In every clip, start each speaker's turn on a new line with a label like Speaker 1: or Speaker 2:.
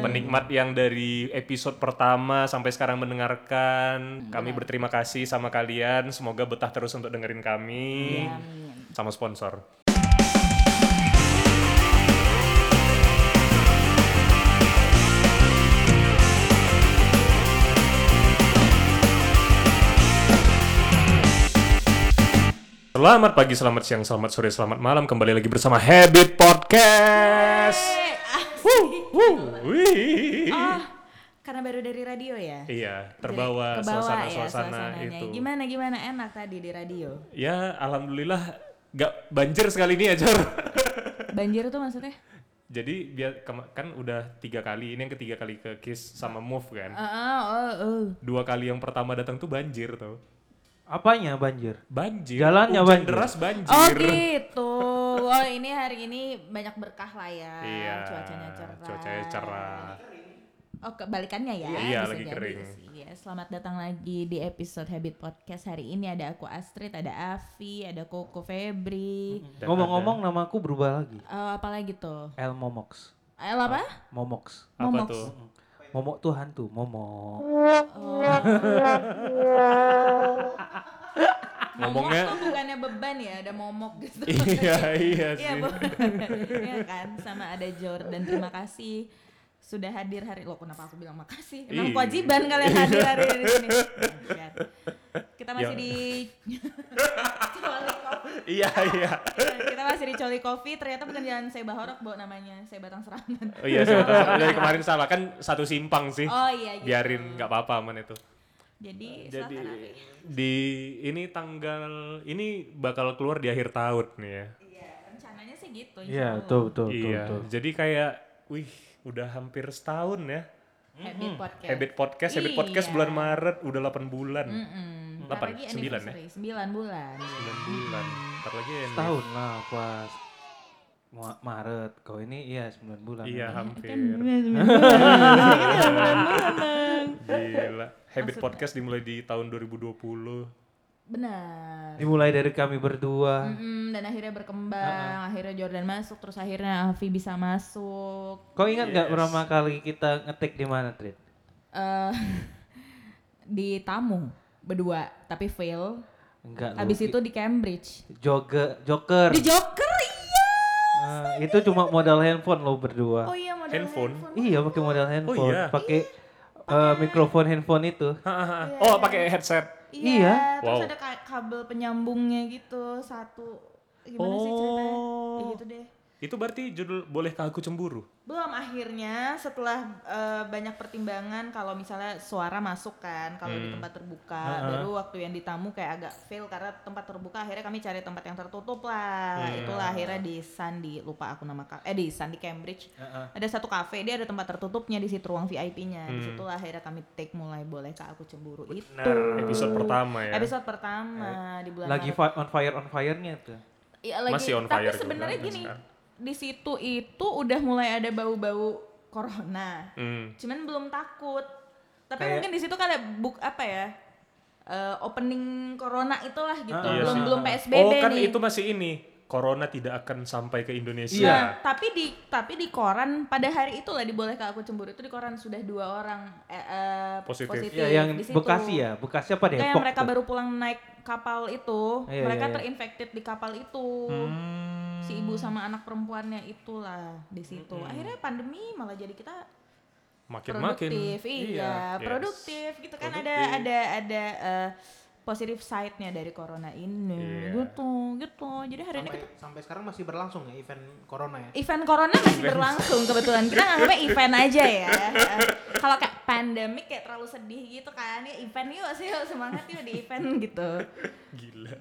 Speaker 1: penikmat yang dari episode pertama sampai sekarang mendengarkan. Kami berterima kasih sama kalian. Semoga betah terus untuk dengerin kami. Sama sponsor. Selamat pagi, selamat siang, selamat sore, selamat malam. Kembali lagi bersama Habit Podcast.
Speaker 2: Eh, ah,
Speaker 1: Wuh, wuh, wih.
Speaker 2: oh, karena baru dari radio ya.
Speaker 1: Iya,
Speaker 2: Jadi
Speaker 1: terbawa
Speaker 2: kebawa ya
Speaker 1: suasana-suasana
Speaker 2: suasananya.
Speaker 1: itu.
Speaker 2: Gimana gimana enak tadi di radio.
Speaker 1: Ya, alhamdulillah gak banjir sekali ini ya, Jor.
Speaker 2: Banjir tuh maksudnya?
Speaker 1: Jadi biar kema- kan udah tiga kali, ini yang ketiga kali ke Kiss sama Move
Speaker 2: Ah,
Speaker 1: kan.
Speaker 2: ah, oh, oh.
Speaker 1: Dua kali yang pertama datang tuh banjir tuh.
Speaker 3: Apanya banjir?
Speaker 1: Banjir.
Speaker 3: Jalannya
Speaker 1: hujan
Speaker 3: banjir.
Speaker 1: deras banjir.
Speaker 2: Oh gitu. Oh ini hari ini banyak berkah lah ya.
Speaker 1: Iya.
Speaker 2: Cuacanya cerah.
Speaker 1: Cuacanya cerah.
Speaker 2: Oh kebalikannya ya.
Speaker 1: Iya,
Speaker 2: bisa
Speaker 1: lagi
Speaker 2: jadi
Speaker 1: kering.
Speaker 2: sih. Ya, selamat datang lagi di episode Habit Podcast hari ini ada aku Astrid, ada Avi, ada Koko Febri.
Speaker 1: Dan
Speaker 3: Ngomong-ngomong namaku berubah lagi.
Speaker 2: Eh, apa lagi tuh?
Speaker 3: El Momox.
Speaker 2: Eh apa?
Speaker 1: Ah,
Speaker 3: Momox.
Speaker 1: Apa
Speaker 2: Momox.
Speaker 1: tuh?
Speaker 3: Momok tuh hantu, Momo.
Speaker 1: Ngomongnya-
Speaker 2: momok tuh bukannya beban ya, ada momok gitu.
Speaker 1: iya, iya sih.
Speaker 2: Iya, beban. Iya kan, sama ada Jordan. Terima kasih sudah hadir hari lo kenapa aku bilang makasih emang
Speaker 1: Ih.
Speaker 2: kewajiban
Speaker 1: Iya.
Speaker 2: kalian hadir hari ini di sini Wajar. kita masih
Speaker 1: Ya.
Speaker 2: di Coli Coffee.
Speaker 1: iya, iya.
Speaker 2: kita masih di Coli Coffee ternyata bukan jalan saya Bahorok bawa namanya saya Batang Serangan
Speaker 1: Oh iya, saya tahu. dari kemarin salah kan satu simpang sih.
Speaker 2: oh iya gitu.
Speaker 1: Biarin nggak apa-apa aman itu.
Speaker 2: jadi
Speaker 1: Jadi
Speaker 2: silakan Ari.
Speaker 1: di ini tanggal ini bakal keluar di akhir tahun nih ya.
Speaker 2: iya rencananya sih gitu
Speaker 3: Iya,
Speaker 2: insya
Speaker 3: betul, betul, betul,
Speaker 1: Iya.
Speaker 3: betul.
Speaker 1: Jadi kayak wih, udah hampir setahun ya.
Speaker 2: Allah. Habit podcast
Speaker 1: Habit podcast, habit podcast
Speaker 2: Iya.
Speaker 1: bulan Maret udah 8 bulan.
Speaker 2: Mm-mm.
Speaker 1: Delapan,
Speaker 2: Apalagi
Speaker 1: sembilan ya?
Speaker 2: anniversary, Sembilan bulan.
Speaker 1: 9 bulan. Ntar lagi ya.
Speaker 3: Setahun lah pas Mu- Maret. Kau ini iya 9 bulan.
Speaker 1: Iya, hampir. Gila. Habit podcast dimulai di tahun 2020.
Speaker 2: Benar.
Speaker 3: Dimulai dari kami berdua.
Speaker 2: Mm-mm, dan akhirnya berkembang, akhirnya Jordan masuk, terus akhirnya Avi bisa masuk.
Speaker 3: Kau ingat nggak pertama kali kita ngetik di mana, Trit?
Speaker 2: eh di tamu berdua, tapi fail.
Speaker 3: Enggak. lu.
Speaker 2: Habis itu di Cambridge.
Speaker 3: Joge, Joker.
Speaker 2: Di Joker iya.
Speaker 3: Eh, itu cuma modal handphone lo berdua.
Speaker 2: Oh iya model
Speaker 1: Handphone.
Speaker 3: Iya, pakai modal handphone.
Speaker 1: iya.
Speaker 3: Pakai eh, mikrofon handphone itu.
Speaker 1: Hahaha. oh, pakai headset.
Speaker 2: Iya. Terus
Speaker 1: Wow.
Speaker 2: ada ka- kabel penyambungnya gitu satu. Gimana sih ceritanya?
Speaker 1: Oh.
Speaker 2: Ya gitu deh.
Speaker 1: Itu berarti judul Bolehkah Aku Cemburu?
Speaker 2: belum akhirnya setelah eh, banyak pertimbangan kalau misalnya suara masuk kan kalau di
Speaker 1: Hmm.
Speaker 2: tempat terbuka baru waktu yang ditamu kayak agak fail karena tempat terbuka akhirnya kami cari tempat yang tertutup lah
Speaker 1: Hmm.
Speaker 2: itulah akhirnya di Sandi lupa aku nama ka- eh di Sandi Cambridge ada satu cafe dia ada tempat tertutupnya di situ ruang VIP-nya
Speaker 1: Hmm.
Speaker 2: di situlah akhirnya kami take mulai bolehkah aku cemburu itu
Speaker 1: Episode pertama ya.
Speaker 2: episode pertama di bulan
Speaker 3: lagi
Speaker 2: Maret.
Speaker 3: fi- on fire on fire-nya tuh.
Speaker 2: Iya, lagi,
Speaker 1: Eh, Masih kan? on
Speaker 2: tapi
Speaker 1: fire juga
Speaker 2: sebenarnya
Speaker 1: sampai
Speaker 2: gini
Speaker 1: sekarang.
Speaker 2: di situ itu udah mulai ada bau-bau corona
Speaker 1: Hmm.
Speaker 2: cuman belum takut tapi
Speaker 3: Kayak-
Speaker 2: mungkin di situ kan ada book apa ya eh, opening corona itulah gitu
Speaker 3: Ah, iya
Speaker 2: belum
Speaker 3: sih.
Speaker 2: belum psbb
Speaker 1: Oh, kan
Speaker 2: nih
Speaker 1: itu masih ini. Corona tidak akan sampai ke Indonesia.
Speaker 3: iya.
Speaker 2: Nah, tapi di tapi di koran pada hari itulah dibolehkan aku cemburu itu di koran sudah dua orang eh, eh,
Speaker 1: Positif.
Speaker 2: positif,
Speaker 3: Ya, yang
Speaker 2: di situ.
Speaker 3: Bekasi ya, Bekasi apa
Speaker 2: Kayak
Speaker 3: Depok?
Speaker 2: mereka
Speaker 3: tuh?
Speaker 2: baru pulang naik kapal itu,
Speaker 3: Iya,
Speaker 2: mereka
Speaker 3: iya, iya.
Speaker 2: terinfected di kapal itu.
Speaker 3: Hmm.
Speaker 2: Si ibu sama anak perempuannya itulah di situ. Akhirnya pandemi malah jadi kita
Speaker 1: Makin-makin.
Speaker 2: produktif, iya,
Speaker 1: Yes.
Speaker 2: produktif gitu kan
Speaker 1: Produktif.
Speaker 2: ada ada ada eh, positive side-nya dari corona
Speaker 1: Iya. ya?
Speaker 2: ini gitu gitu. Jadi hari ini
Speaker 4: sampai,
Speaker 2: kita
Speaker 4: sampai sekarang masih berlangsung ya event corona ya
Speaker 2: event corona masih berlangsung kebetulan kita nganggapnya event aja ya Eh, kalau kayak pandemik kayak terlalu sedih gitu kan ya event yuk sih yuk semangat yuk di event gitu
Speaker 1: Gila.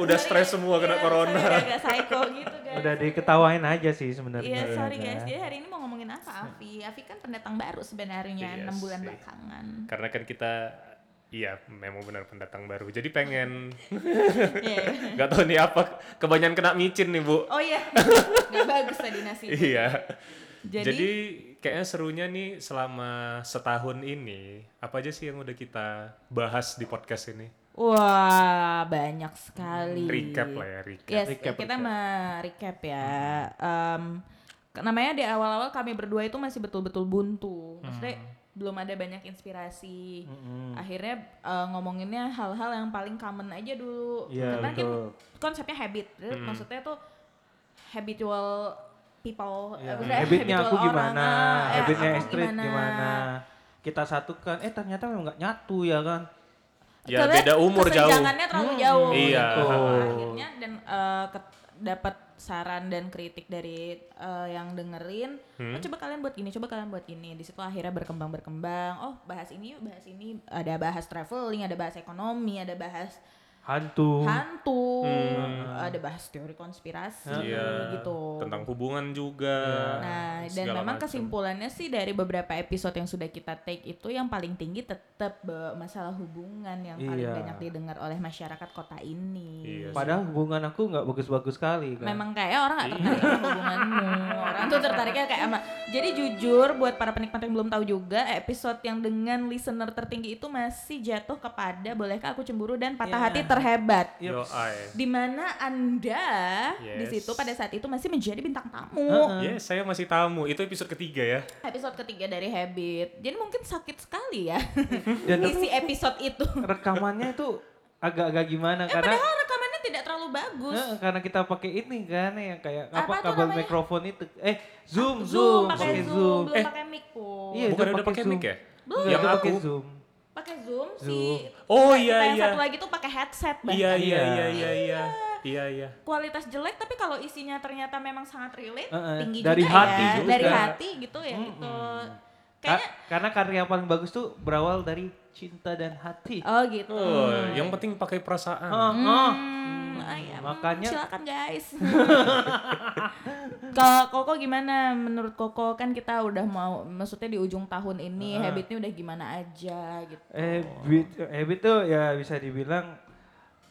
Speaker 1: Udah stres semua kena
Speaker 2: Iya,
Speaker 1: corona.
Speaker 2: sorry, agak psycho gitu guys
Speaker 3: Udah diketawain aja sih sebenarnya.
Speaker 2: Iya sorry
Speaker 3: kan.
Speaker 2: guys, jadi hari ini mau ngomongin apa Avi? Avi kan pendatang baru sebenarnya,
Speaker 1: Iya
Speaker 2: enam bulan
Speaker 1: sih.
Speaker 2: belakangan
Speaker 1: Karena kan kita Iya, memang benar pendatang baru. Jadi pengen
Speaker 2: Iya.
Speaker 1: nggak tahu nih apa kebanyakan kena micin nih bu.
Speaker 2: Oh iya, gak bagus tadi nasi
Speaker 1: Iya. Jadi,
Speaker 2: Jadi-
Speaker 1: kayaknya serunya nih selama setahun ini apa aja sih yang udah kita bahas di podcast ini?
Speaker 2: Wah, banyak sekali. Iya.
Speaker 1: Recap lah ya recap.
Speaker 2: Yes,
Speaker 3: Recap,
Speaker 2: kita
Speaker 3: recap.
Speaker 2: recap. recap ya. Em, namanya di awal-awal kami berdua itu masih betul-betul buntu maksudnya
Speaker 3: Hmm.
Speaker 2: belum ada banyak inspirasi akhirnya eh, ngomonginnya hal-hal yang paling common aja dulu
Speaker 3: Iya,
Speaker 2: karena kan
Speaker 3: betul. Hmm.
Speaker 2: konsepnya habit Jadi
Speaker 1: Mm.
Speaker 2: maksudnya tuh habitual people eh,
Speaker 3: Ya,
Speaker 2: maksudnya
Speaker 3: habitnya aku
Speaker 2: habitual orang,
Speaker 3: gimana,
Speaker 2: ah, ya,
Speaker 3: habitnya
Speaker 2: aku
Speaker 3: Astrid gimana. Kita satukan, eh ternyata memang nggak nyatu ya kan?
Speaker 1: Ya
Speaker 2: Karena
Speaker 1: beda umur jauh.
Speaker 2: kesenjangannya terlalu jauh.
Speaker 1: Iya.
Speaker 2: gitu.
Speaker 3: Oh.
Speaker 2: Akhirnya dan eh, ket- dapat saran dan kritik dari eh, yang dengerin,
Speaker 1: Hmm.
Speaker 2: "Oh, coba kalian buat gini, coba kalian buat gini. Di situ akhirnya berkembang berkembang. Oh bahas ini, yuk, bahas ini. Ada bahas traveling, ada bahas ekonomi, ada bahas
Speaker 1: Oh.
Speaker 3: Hantu.
Speaker 2: hantu, ada bahas teori konspirasi,
Speaker 1: Hmm. Iya.
Speaker 2: gitu.
Speaker 1: Tentang hubungan juga.
Speaker 2: Nah, dan
Speaker 1: segala
Speaker 2: memang
Speaker 1: macam.
Speaker 2: kesimpulannya sih dari beberapa episode yang sudah kita take itu yang paling tinggi tetap bahwa masalah hubungan yang paling
Speaker 3: Iya.
Speaker 2: banyak didengar oleh masyarakat kota ini.
Speaker 1: Iya.
Speaker 3: Padahal hubungan aku nggak bagus-bagus sekali kan?
Speaker 2: Memang kayak orang nggak tertarik sama hubunganmu. Orang tuh tertariknya kayak sama. Jadi jujur buat para penikmat yang belum tahu juga episode yang dengan listener tertinggi itu masih jatuh kepada bolehkah aku cemburu dan patah
Speaker 3: Iya.
Speaker 2: hati terhebat.
Speaker 1: Yo, ay.
Speaker 2: Di mana Anda di
Speaker 1: Yes.
Speaker 2: situ pada saat itu masih menjadi bintang tamu.
Speaker 1: Yes, saya masih tamu. Itu episode ketiga ya.
Speaker 2: episode ketiga dari Habit. Jadi mungkin sakit sekali ya
Speaker 3: Dan-
Speaker 2: isi episode itu. Ya,
Speaker 3: Rekamannya itu agak-agak gimana karena
Speaker 2: Padahal rekamannya tidak terlalu bagus.
Speaker 3: eh, karena kita pakai ini kan yang kayak
Speaker 2: Apa
Speaker 3: apa,
Speaker 2: tuh
Speaker 3: kabel
Speaker 2: namanya? Ah,
Speaker 3: mikrofon itu. Eh zoom
Speaker 2: Zoom,
Speaker 3: zoom,
Speaker 2: pakai Zoom, belum
Speaker 1: Eh.
Speaker 2: pakai mic pun.
Speaker 3: Iya,
Speaker 1: Bukan
Speaker 3: itu
Speaker 1: udah
Speaker 3: pakai
Speaker 1: pakai mic
Speaker 3: Zoom.
Speaker 1: ya?
Speaker 3: Belum.
Speaker 1: Yang aku.
Speaker 3: pakai zoom.
Speaker 2: Pakai Zoom,
Speaker 3: Zoom.
Speaker 2: si
Speaker 1: Oh,
Speaker 2: kita
Speaker 1: iya,
Speaker 2: yang
Speaker 1: iya.
Speaker 2: satu lagi tuh pakai headset bahkan.
Speaker 1: Iya, iya,
Speaker 3: Iya.
Speaker 1: iya, iya, iya. Iya, iya.
Speaker 2: Kualitas jelek tapi kalau isinya ternyata memang sangat relate,
Speaker 3: Eh, eh,
Speaker 2: tinggi
Speaker 3: dari
Speaker 2: juga
Speaker 3: hati
Speaker 2: ya.
Speaker 3: juga.
Speaker 2: Dari hati gitu ya gitu.
Speaker 3: Ka-
Speaker 2: Kayaknya
Speaker 3: karena karya paling bagus tuh berawal dari cinta dan hati.
Speaker 2: oh gitu.
Speaker 1: Oh, yang penting pakai perasaan.
Speaker 3: Ah, ah.
Speaker 2: Hmm, ayam.
Speaker 3: makanya-
Speaker 2: silakan guys. Ke Koko gimana? Menurut Koko kan kita udah mau, maksudnya di ujung tahun ini
Speaker 3: Ah.
Speaker 2: habitnya udah gimana aja gitu.
Speaker 3: Habit, habit tuh ya bisa dibilang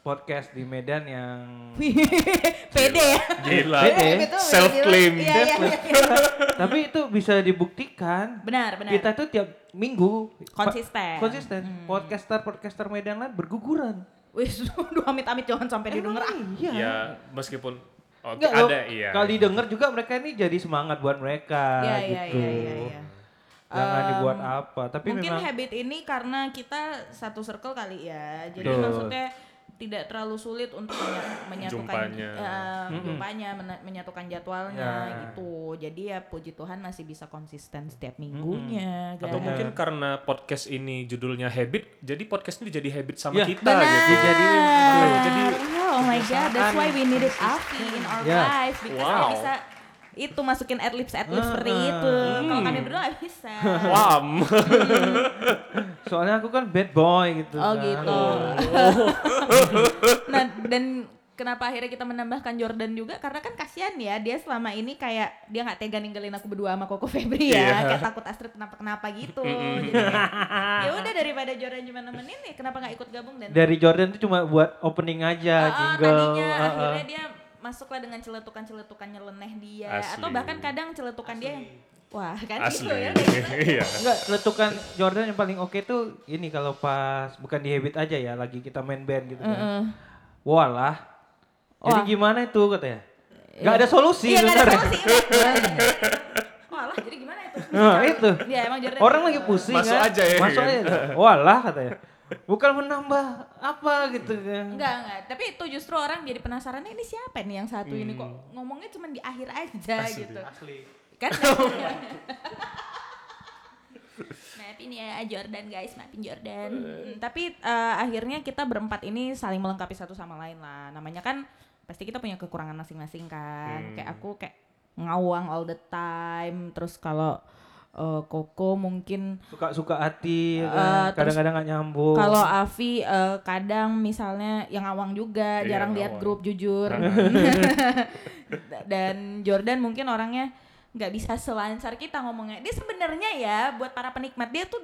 Speaker 3: podcast di Medan yang
Speaker 2: Pede
Speaker 3: iya.
Speaker 2: ya.
Speaker 1: Gila.
Speaker 3: Beda ya?
Speaker 2: Habit tuh udah
Speaker 1: Self claim.
Speaker 2: gila. Iya, iya, iya, iya.
Speaker 3: tapi itu bisa dibuktikan
Speaker 2: Benar, benar.
Speaker 3: kita tuh tiap minggu pa-
Speaker 2: Konsisten. Hmm.
Speaker 3: konsisten podcaster podcaster Medan lah berguguran
Speaker 2: Wih, aduh amit-amit jangan sampai didengar. ah.
Speaker 3: Emang iya
Speaker 1: Ya, meskipun oke
Speaker 3: Nggak loh,
Speaker 1: ada iya.
Speaker 3: kalau didengar juga mereka ini jadi semangat buat mereka
Speaker 2: Iya, iya,
Speaker 3: gitu
Speaker 2: iya, iya, iya.
Speaker 3: jangan dibuat apa tapi
Speaker 2: Mungkin
Speaker 3: memang
Speaker 2: habit ini karena kita satu circle kali ya. Jadi
Speaker 3: Betul.
Speaker 2: maksudnya tidak terlalu sulit untuk menya- menyatukan
Speaker 1: Jumpanya.
Speaker 2: eh, jumpanya, mena- menyatukan jadwalnya
Speaker 3: Ya.
Speaker 2: gitu. Jadi ya puji Tuhan masih bisa konsisten setiap minggunya. gitu.
Speaker 1: Atau
Speaker 2: guys.
Speaker 1: mungkin karena podcast ini judulnya Habit, jadi podcast ini jadi habit sama
Speaker 3: Ya,
Speaker 1: kita
Speaker 2: Iya. Benar.
Speaker 1: gitu.
Speaker 3: Dijadiin, betul.
Speaker 1: Jadi
Speaker 2: oh my god, that's why we needed Avi in our
Speaker 3: Ya.
Speaker 2: life because dia
Speaker 1: Wow. Ah.
Speaker 2: bisa itu masukin adlibs adlibs seperti itu. Kalau kami berdua nggak bisa.
Speaker 1: wam.
Speaker 2: Kan
Speaker 3: soalnya aku kan bad boy gitu
Speaker 2: Oh
Speaker 3: kan.
Speaker 2: gitu. nah dan kenapa akhirnya kita menambahkan Jordan juga karena kan kasihan ya dia selama ini kayak dia nggak tega ninggalin aku berdua sama Koko Febri ya
Speaker 1: Iya.
Speaker 2: kayak takut Astrid kenapa kenapa gitu. Jadi kayak, ya udah daripada Jordan cuma nemenin ya kenapa nggak ikut gabung dan
Speaker 3: dari Jordan tuh cuma buat opening
Speaker 2: Ah,
Speaker 3: aja
Speaker 2: ah,
Speaker 3: jingle
Speaker 2: tadinya
Speaker 1: uh-uh.
Speaker 3: ah, ah.
Speaker 2: akhirnya dia masuklah dengan celetukan-celetukan nyeleneh dia atau
Speaker 1: Asli.
Speaker 2: bahkan kadang celetukan dia yang- wah kan
Speaker 1: Asli.
Speaker 2: gitu ya kayak gitu.
Speaker 1: Iya.
Speaker 3: Enggak, letukan Jordan yang paling oke tuh ini kalau pas bukan di habit aja ya, lagi kita main band gitu kan.
Speaker 2: Heeh.
Speaker 3: Walah. Jadi
Speaker 2: Wah.
Speaker 3: gimana itu katanya? Gak ada solusi
Speaker 2: Iya nggak ada
Speaker 3: bentar ya.
Speaker 2: solusi. Walah jadi gimana itu?
Speaker 3: Nah, itu.
Speaker 2: Iya emang Jordan.
Speaker 3: Orang
Speaker 2: gitu.
Speaker 3: lagi pusing
Speaker 1: Masuk
Speaker 3: kan.
Speaker 1: aja ya,
Speaker 3: Masuk
Speaker 1: kan?
Speaker 3: aja. Walah katanya. Bukan menambah apa gitu kan.
Speaker 2: Enggak, enggak. Tapi itu justru orang jadi penasaran ini siapa nih yang satu ini
Speaker 3: Hmm.
Speaker 2: kok ngomongnya cuma di akhir aja gitu.
Speaker 4: Asli.
Speaker 2: Kan
Speaker 1: ya?
Speaker 2: nggak- Maafin ya Jordan guys, maafin Jordan. Mm, tapi eh, akhirnya kita berempat ini saling melengkapi satu sama lain lah. Namanya kan pasti kita punya kekurangan masing-masing
Speaker 1: Hmm.
Speaker 2: kan. Kayak aku kayak ngawang all the time. Terus kalau eh, Koko mungkin
Speaker 3: Suka-suka hati
Speaker 2: Eh,
Speaker 3: ya kan.
Speaker 2: terus
Speaker 3: Kadang-kadang gak
Speaker 1: Oh.
Speaker 3: nyambung.
Speaker 2: kalau Avi eh, kadang misalnya yang awang juga,
Speaker 1: Iya,
Speaker 2: jarang lihat
Speaker 1: ngawang.
Speaker 2: grup jujur. Da- Dan Jordan mungkin orangnya nggak bisa selancar kita ngomongnya. Dia sebenarnya ya buat para penikmat dia tuh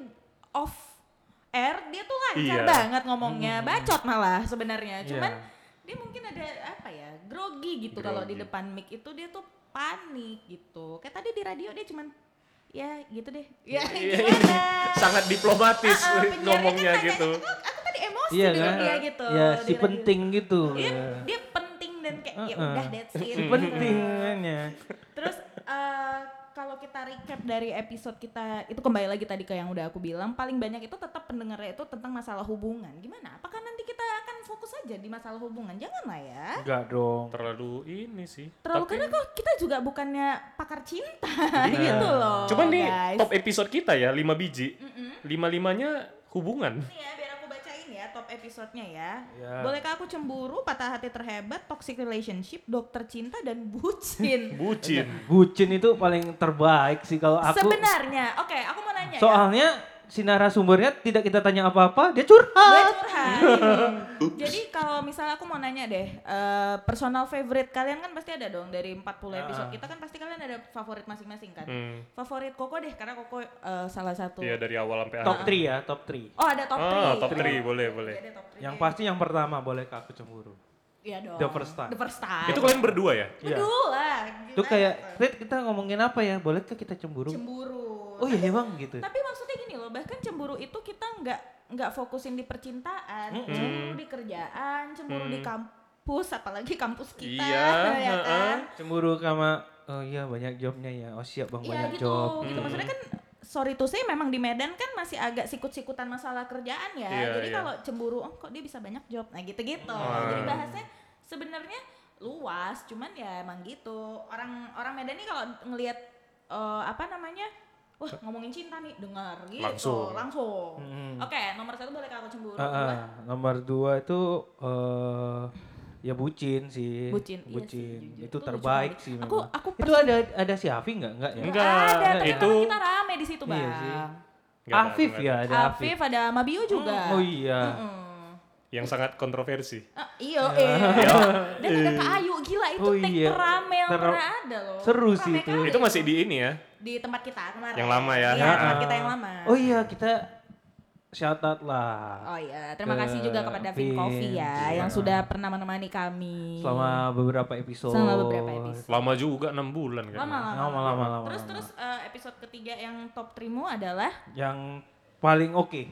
Speaker 2: off air dia tuh lancar
Speaker 1: Iya.
Speaker 2: banget ngomongnya, bacot malah sebenarnya. Cuman
Speaker 3: Iya.
Speaker 2: dia mungkin ada apa ya grogi gitu kalau di
Speaker 1: Grogi.
Speaker 2: depan mic itu dia tuh panik gitu. Kayak tadi di radio dia cuman ya gitu deh.
Speaker 1: Iya,
Speaker 2: Ya gimana?
Speaker 1: Sangat diplomatis
Speaker 2: Ah, ah, penyiarnya
Speaker 1: ngomongnya
Speaker 2: kan
Speaker 1: gitu.
Speaker 2: nanya, "Aku- aku tadi emosi
Speaker 3: Iya
Speaker 2: dengan
Speaker 3: kan?
Speaker 2: dia gitu
Speaker 3: Ya,
Speaker 2: dia
Speaker 3: si
Speaker 2: lagi-
Speaker 3: penting gitu.
Speaker 2: Iya,
Speaker 3: ya.
Speaker 2: dia penting dan kayak ya
Speaker 3: Uh-uh.
Speaker 2: udah that's it Gitu.
Speaker 3: Si penting kan ya.
Speaker 2: terus eh, kalau kita recap dari episode kita itu kembali lagi tadi ke yang udah aku bilang paling banyak itu tetap pendengarnya itu tentang masalah hubungan. Gimana? Apakah nanti kita akan fokus aja di masalah hubungan? Janganlah ya.
Speaker 3: Enggak dong.
Speaker 1: Terlalu ini sih.
Speaker 2: Terlalu
Speaker 1: Tapi-
Speaker 2: karena kok kita juga bukannya pakar cinta gitu loh.
Speaker 1: Cuman nih
Speaker 2: guys.
Speaker 1: top episode kita ya, 5 biji. Lima-limanya hubungan.
Speaker 2: Ini ya biar aku bacain ya top episodenya ya.
Speaker 3: Iya.
Speaker 2: Bolehkah aku cemburu, patah hati terhebat, toxic relationship, dokter cinta dan bucin.
Speaker 1: Bucin.
Speaker 3: Bucin itu paling terbaik sih kalau aku.
Speaker 2: Sebenarnya, oke, aku mau nanya ya.
Speaker 3: Soalnya si narasumbernya tidak kita tanya apa-apa, dia
Speaker 2: Gue
Speaker 3: curhat.
Speaker 2: curhat. Jadi kalau misalnya aku mau nanya deh, eh, personal favorite kalian kan pasti ada dong dari 40 episode kita kan pasti kalian ada favorit masing-masing kan.
Speaker 1: Ah. Hmm.
Speaker 2: Favorit Koko deh karena Koko eh, salah satu.
Speaker 1: Iya dari awal sampai
Speaker 3: Top
Speaker 1: akhir.
Speaker 3: 3 ya, top 3.
Speaker 2: Oh, ada top Iya, 3.
Speaker 1: Ah, top three, boleh, boleh.
Speaker 3: Yang pasti yang pertama bolehkah aku cemburu?
Speaker 2: Iya dong.
Speaker 3: The first time.
Speaker 2: The first time.
Speaker 1: Itu kalian berdua ya?
Speaker 3: Iya.
Speaker 2: Berdua lah.
Speaker 3: Itu
Speaker 2: gimana
Speaker 3: kayak
Speaker 2: tuh?
Speaker 3: Rit, kita ngomongin apa ya? Bolehkah kita cemburu?
Speaker 2: cemburu.
Speaker 3: Oh iya bang gitu.
Speaker 2: Tapi maksudnya gini loh, bahkan cemburu itu kita nggak nggak fokusin di percintaan, cemburu di kerjaan, cemburu di kampus, apalagi kampus kita,
Speaker 1: Mm. Iya,
Speaker 2: ya
Speaker 1: heeh.
Speaker 2: kan?
Speaker 3: Cemburu sama oh iya banyak jobnya ya. Oh siap bang
Speaker 2: Iya
Speaker 3: banyak
Speaker 2: gitu,
Speaker 3: job.
Speaker 2: gitu maksudnya kan sorry to say memang di Medan kan masih agak sikut-sikutan masalah kerjaan ya.
Speaker 1: Iya,
Speaker 2: Jadi
Speaker 1: iya.
Speaker 2: kalau cemburu, oh kok dia bisa banyak job, nah gitu-gitu. Jadi bahasnya sebenarnya luas, cuman ya emang gitu. Orang orang Medan nih kalau ngelihat eh, apa namanya, wah ngomongin cinta nih, dengar gitu,
Speaker 1: Langsung.
Speaker 2: langsung.
Speaker 3: Mm.
Speaker 2: Oke, nomor satu boleh aku cemburu?
Speaker 3: Ah, ah.
Speaker 2: Dua,
Speaker 3: nomor dua itu eh ya bucin sih.
Speaker 2: Bucin, iya sih, jujur.
Speaker 3: itu
Speaker 2: Itu lucu
Speaker 3: terbaik
Speaker 2: banget.
Speaker 3: sih
Speaker 2: Aku-
Speaker 3: memang.
Speaker 2: aku
Speaker 3: itu ada ada si Afi nggak? Nggak ya?
Speaker 1: Enggak,
Speaker 2: ada, tapi
Speaker 1: itu
Speaker 2: memang kita rame di situ bang.
Speaker 3: Iya sih.
Speaker 1: Nggak ada,
Speaker 3: Afif
Speaker 1: nggak
Speaker 3: ya ada Afif.
Speaker 2: Afif ada Mabio juga.
Speaker 3: Oh iya.
Speaker 2: Mm.
Speaker 1: yang sangat kontroversi.
Speaker 2: Ah, iya, eh. Dan ada Kak Ayu, gila itu
Speaker 3: Oh,
Speaker 2: take
Speaker 3: iya.
Speaker 2: rame yang
Speaker 3: Ter-
Speaker 2: pernah ada loh.
Speaker 3: seru sih
Speaker 2: Rame
Speaker 3: itu.
Speaker 2: kali
Speaker 1: Itu masih di ini ya.
Speaker 2: di tempat kita kemarin.
Speaker 1: Yang lama ya.
Speaker 2: Iya, tempat
Speaker 3: Ah.
Speaker 2: kita yang lama.
Speaker 3: Oh iya kita shout out lah.
Speaker 2: Oh iya, terima
Speaker 3: Ke
Speaker 2: kasih juga kepada Vin
Speaker 3: Vin.
Speaker 2: Coffee ya
Speaker 3: Iya.
Speaker 2: yang sudah pernah menemani kami.
Speaker 3: Selama beberapa episode.
Speaker 2: Iya. Selama beberapa episode.
Speaker 1: Lama juga 6 bulan
Speaker 3: Iya.
Speaker 1: kan.
Speaker 2: Lama lama.
Speaker 3: Lama, lama, lama,
Speaker 2: Terus
Speaker 3: lama.
Speaker 2: terus eh, episode ketiga yang top trimu adalah
Speaker 3: Yang paling oke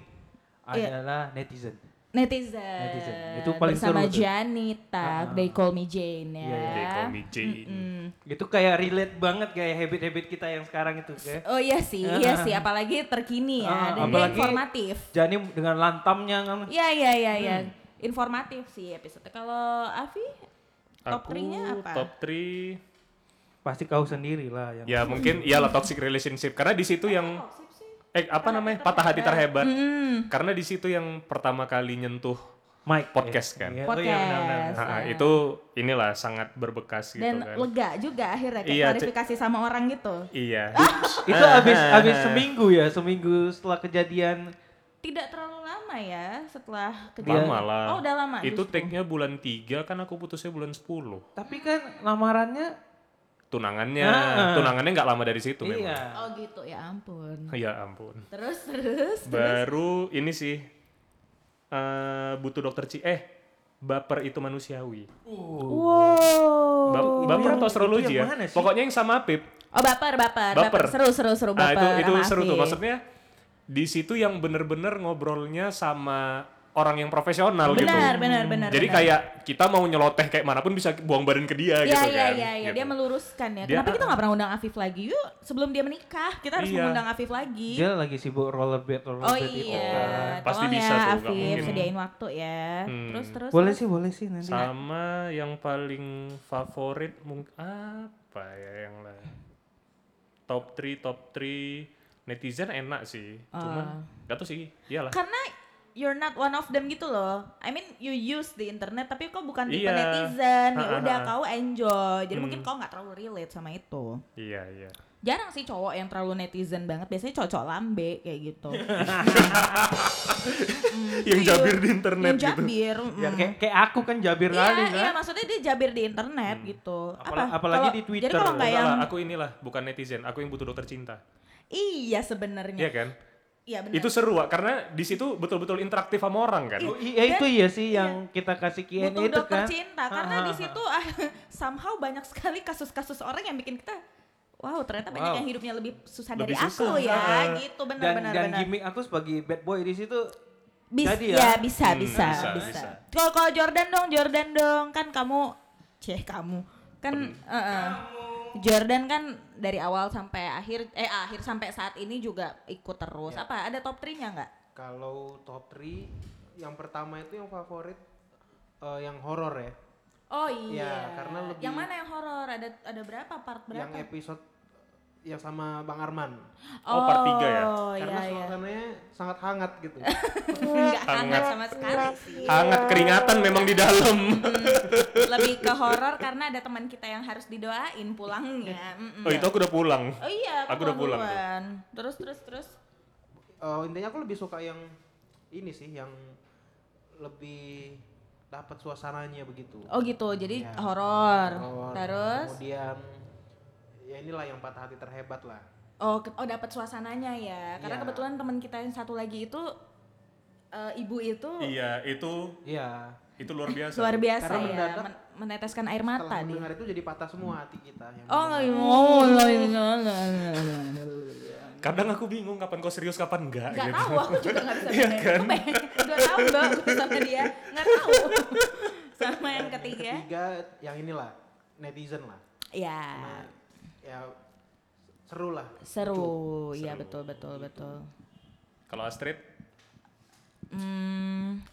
Speaker 2: Iya.
Speaker 3: adalah netizen.
Speaker 2: Netizen,
Speaker 3: Netizen. Itu paling
Speaker 2: bersama
Speaker 3: seru tuh.
Speaker 2: Janita,
Speaker 3: Ah.
Speaker 2: They Call Me Jane ya.
Speaker 3: Iya,
Speaker 1: They call me Jane.
Speaker 2: Mm.
Speaker 3: Itu kayak relate banget kayak habit-habit kita yang sekarang itu kayak.
Speaker 2: Oh iya sih, iya sih, apalagi terkini ya,
Speaker 3: Ah,
Speaker 2: dan dia
Speaker 3: apalagi-
Speaker 2: informatif.
Speaker 3: Jani dengan lantamnya kan.
Speaker 2: Iya iya iya iya.
Speaker 1: Hmm.
Speaker 2: Informatif sih episode. Kalau Avi
Speaker 1: Aku
Speaker 2: top 3-nya apa?
Speaker 1: top 3
Speaker 3: Pasti kau sendiri lah yang
Speaker 1: ya mungkin iyalah toxic relationship karena di situ yang
Speaker 2: Toxic sih.
Speaker 1: eh apa namanya patah hati terhebat
Speaker 2: Mm-hmm. Hmm,
Speaker 1: karena di situ yang pertama kali nyentuh
Speaker 3: Mike
Speaker 1: podcast kan
Speaker 3: Iya,
Speaker 2: Podcast.
Speaker 3: Oh iya benar-benar.
Speaker 1: Nah, itu inilah sangat berbekas gitu
Speaker 2: Dan
Speaker 1: kan
Speaker 2: lega juga akhirnya kayak
Speaker 1: Iya, Ce-
Speaker 2: klarifikasi sama orang gitu.
Speaker 1: iya
Speaker 3: Itu habis habis seminggu ya, seminggu setelah kejadian.
Speaker 2: Tidak terlalu lama ya setelah kejadian.
Speaker 1: lama lah
Speaker 2: Oh udah lama.
Speaker 1: itu
Speaker 2: justru.
Speaker 1: take-nya bulan 3 kan aku putusnya bulan 10
Speaker 3: Tapi kan lamarannya
Speaker 1: tunangannya
Speaker 3: Ah.
Speaker 1: tunangannya nggak lama dari situ memang
Speaker 3: iya.
Speaker 2: Oh gitu ya ampun.
Speaker 1: ya ampun
Speaker 2: Terus terus.
Speaker 1: baru ini sih eh butuh dokter ci eh baper itu manusiawi Uh.
Speaker 2: Wow.
Speaker 1: Ba- baper atau astrologi
Speaker 3: yang
Speaker 1: ya
Speaker 3: mana sih?
Speaker 1: pokoknya yang sama Pip
Speaker 2: Oh baper baper.
Speaker 1: Baper.
Speaker 2: Seru seru seru
Speaker 1: Nah,
Speaker 2: Oh, baper.
Speaker 1: itu itu
Speaker 2: sama
Speaker 1: seru tuh.
Speaker 2: Afi.
Speaker 1: Maksudnya di situ yang bener-bener ngobrolnya sama orang yang profesional gitu.
Speaker 2: Benar benar benar.
Speaker 1: Jadi
Speaker 2: benar.
Speaker 1: kayak kita mau nyeloteh kayak manapun bisa buang badan ke dia
Speaker 2: Iya
Speaker 1: gitu
Speaker 2: iya
Speaker 1: kan.
Speaker 2: iya iya
Speaker 1: Gitu.
Speaker 2: dia meluruskan ya.
Speaker 1: Dia-
Speaker 2: Kenapa kita nggak pernah undang Afif lagi? Yuk sebelum dia menikah kita harus
Speaker 1: Iya.
Speaker 2: mengundang Afif lagi.
Speaker 3: Dia lagi sibuk rollerblade
Speaker 2: oh
Speaker 3: rollerblade itu.
Speaker 2: iya,
Speaker 1: kan. Pasti
Speaker 2: tolong
Speaker 1: bisa
Speaker 2: ya
Speaker 1: tuh, nggak
Speaker 2: Afif
Speaker 1: mungkin.
Speaker 2: sediain waktu ya.
Speaker 1: Hmm.
Speaker 2: Terus terus.
Speaker 3: Boleh
Speaker 2: terus.
Speaker 3: sih, boleh sih nanti.
Speaker 1: Sama yang paling favorit mungkin apa ya yang lain. Top 3 top 3 netizen enak sih.
Speaker 2: Ah.
Speaker 1: Cuman gak tau sih. Iyalah.
Speaker 2: Karena you're not one of them gitu loh. I mean you use the internet tapi kau bukan tipe
Speaker 1: Iya. Hmm.
Speaker 2: netizen. Ya
Speaker 1: Ha, ha,
Speaker 2: udah
Speaker 1: ha.
Speaker 2: kau enjoy. Jadi mungkin kau nggak terlalu relate sama itu.
Speaker 1: Iya iya.
Speaker 2: Jarang sih cowok yang terlalu netizen banget. Biasanya cocok lambe kayak gitu.
Speaker 1: yang jabir di internet
Speaker 2: Yang
Speaker 1: gitu.
Speaker 2: jabir. mm.
Speaker 3: Ya kayak, kayak aku kan jabir
Speaker 2: Iya,
Speaker 3: kali
Speaker 2: iya
Speaker 3: kan.
Speaker 2: maksudnya dia jabir di internet gitu.
Speaker 3: Apala- apalagi
Speaker 2: kalau-
Speaker 3: di
Speaker 2: Jadi
Speaker 3: Twitter.
Speaker 2: kalau nggak
Speaker 1: Enggak
Speaker 2: yang
Speaker 1: lah, aku inilah bukan netizen, aku yang butuh dokter cinta.
Speaker 2: iya sebenarnya.
Speaker 1: Iya kan?
Speaker 2: Iya benar.
Speaker 1: Itu seru, Wak, karena di situ betul-betul interaktif sama orang kan.
Speaker 3: Oh, iya itu iya sih yang kita kasih Q&A
Speaker 2: butuh
Speaker 3: itu
Speaker 2: dokter
Speaker 3: kan.
Speaker 2: cinta karena di situ ah, somehow banyak sekali kasus-kasus orang yang bikin kita wow ternyata banyak
Speaker 3: Wow.
Speaker 2: yang hidupnya lebih susah
Speaker 1: Lebih
Speaker 2: dari aku
Speaker 1: susah,
Speaker 2: ya
Speaker 1: ah.
Speaker 2: gitu
Speaker 3: Dan,
Speaker 2: benar-benar
Speaker 3: dan
Speaker 2: benar.
Speaker 3: gimmick aku sebagai bad boy di situ
Speaker 2: Bis-
Speaker 3: jadi
Speaker 2: ya.
Speaker 3: ya.
Speaker 2: bisa,
Speaker 1: Hmm,
Speaker 2: bisa
Speaker 1: bisa,
Speaker 2: bisa
Speaker 1: bisa.
Speaker 2: Kalau kalau Jordan dong Jordan dong kan kamu ceh kamu kan eh, eh. Jordan kan dari awal sampai akhir eh akhir sampai saat ini juga ikut terus.
Speaker 4: Ya.
Speaker 2: Apa ada top 3-nya nggak?
Speaker 4: Kalau top 3 yang pertama itu yang favorit eh, yang horor ya.
Speaker 2: Oh
Speaker 1: Ya,
Speaker 2: iya.
Speaker 4: karena lebih-
Speaker 2: Yang mana yang horor? Ada ada berapa part berapa?
Speaker 4: Yang episode yang sama Bang Arman.
Speaker 1: Oh, part tiga ya?
Speaker 2: Oh
Speaker 4: karena
Speaker 2: iya iya.
Speaker 4: suasananya sangat hangat gitu.
Speaker 2: Enggak hangat
Speaker 1: Hangat.
Speaker 2: sama sekali sih.
Speaker 1: Hangat keringatan memang di dalam.
Speaker 2: Iya. Lebih ke horor karena ada teman kita yang harus didoain pulangnya. Mm-mm.
Speaker 1: Oh itu aku udah pulang.
Speaker 2: Oh iya,
Speaker 1: Aku udah pulang tuh.
Speaker 2: duluan. Terus terus terus.
Speaker 4: Eh, intinya aku lebih suka yang ini sih yang lebih dapat suasananya begitu.
Speaker 2: Oh gitu, jadi
Speaker 4: Iya.
Speaker 2: horor.
Speaker 4: Horor.
Speaker 2: Terus
Speaker 4: kemudian ya inilah yang patah hati terhebat lah.
Speaker 2: oh ke- oh dapat suasananya ya. Karena
Speaker 4: Iya.
Speaker 2: kebetulan teman kita yang satu lagi itu eh, ibu itu
Speaker 1: Iya itu
Speaker 4: Iya.
Speaker 1: itu luar biasa.
Speaker 2: luar biasa
Speaker 4: Karena
Speaker 2: ya,
Speaker 4: mendadak-
Speaker 2: men- meneteskan air mata
Speaker 4: Setelah
Speaker 2: dia.
Speaker 4: mendengar itu jadi patah semua hati kita. Yang
Speaker 2: Oh,
Speaker 4: mendengar.
Speaker 2: nggak- oh, nggak- nggak- nggak- nggak-
Speaker 1: Kadang aku bingung kapan kau serius kapan enggak.
Speaker 2: Gak
Speaker 4: Iya,
Speaker 1: gitu.
Speaker 2: tahu, aku juga gak bisa
Speaker 1: Iya
Speaker 2: bedain.
Speaker 1: kan?
Speaker 2: Aku pengen dua tahun loh aku sama dia, gak tahu. sama yang ketiga,
Speaker 4: Ketiga yang inilah netizen lah.
Speaker 2: ya
Speaker 4: Nah, ya seru lah.
Speaker 2: seru, ya betul betul betul.
Speaker 1: Kalau Astrid
Speaker 2: Hmm,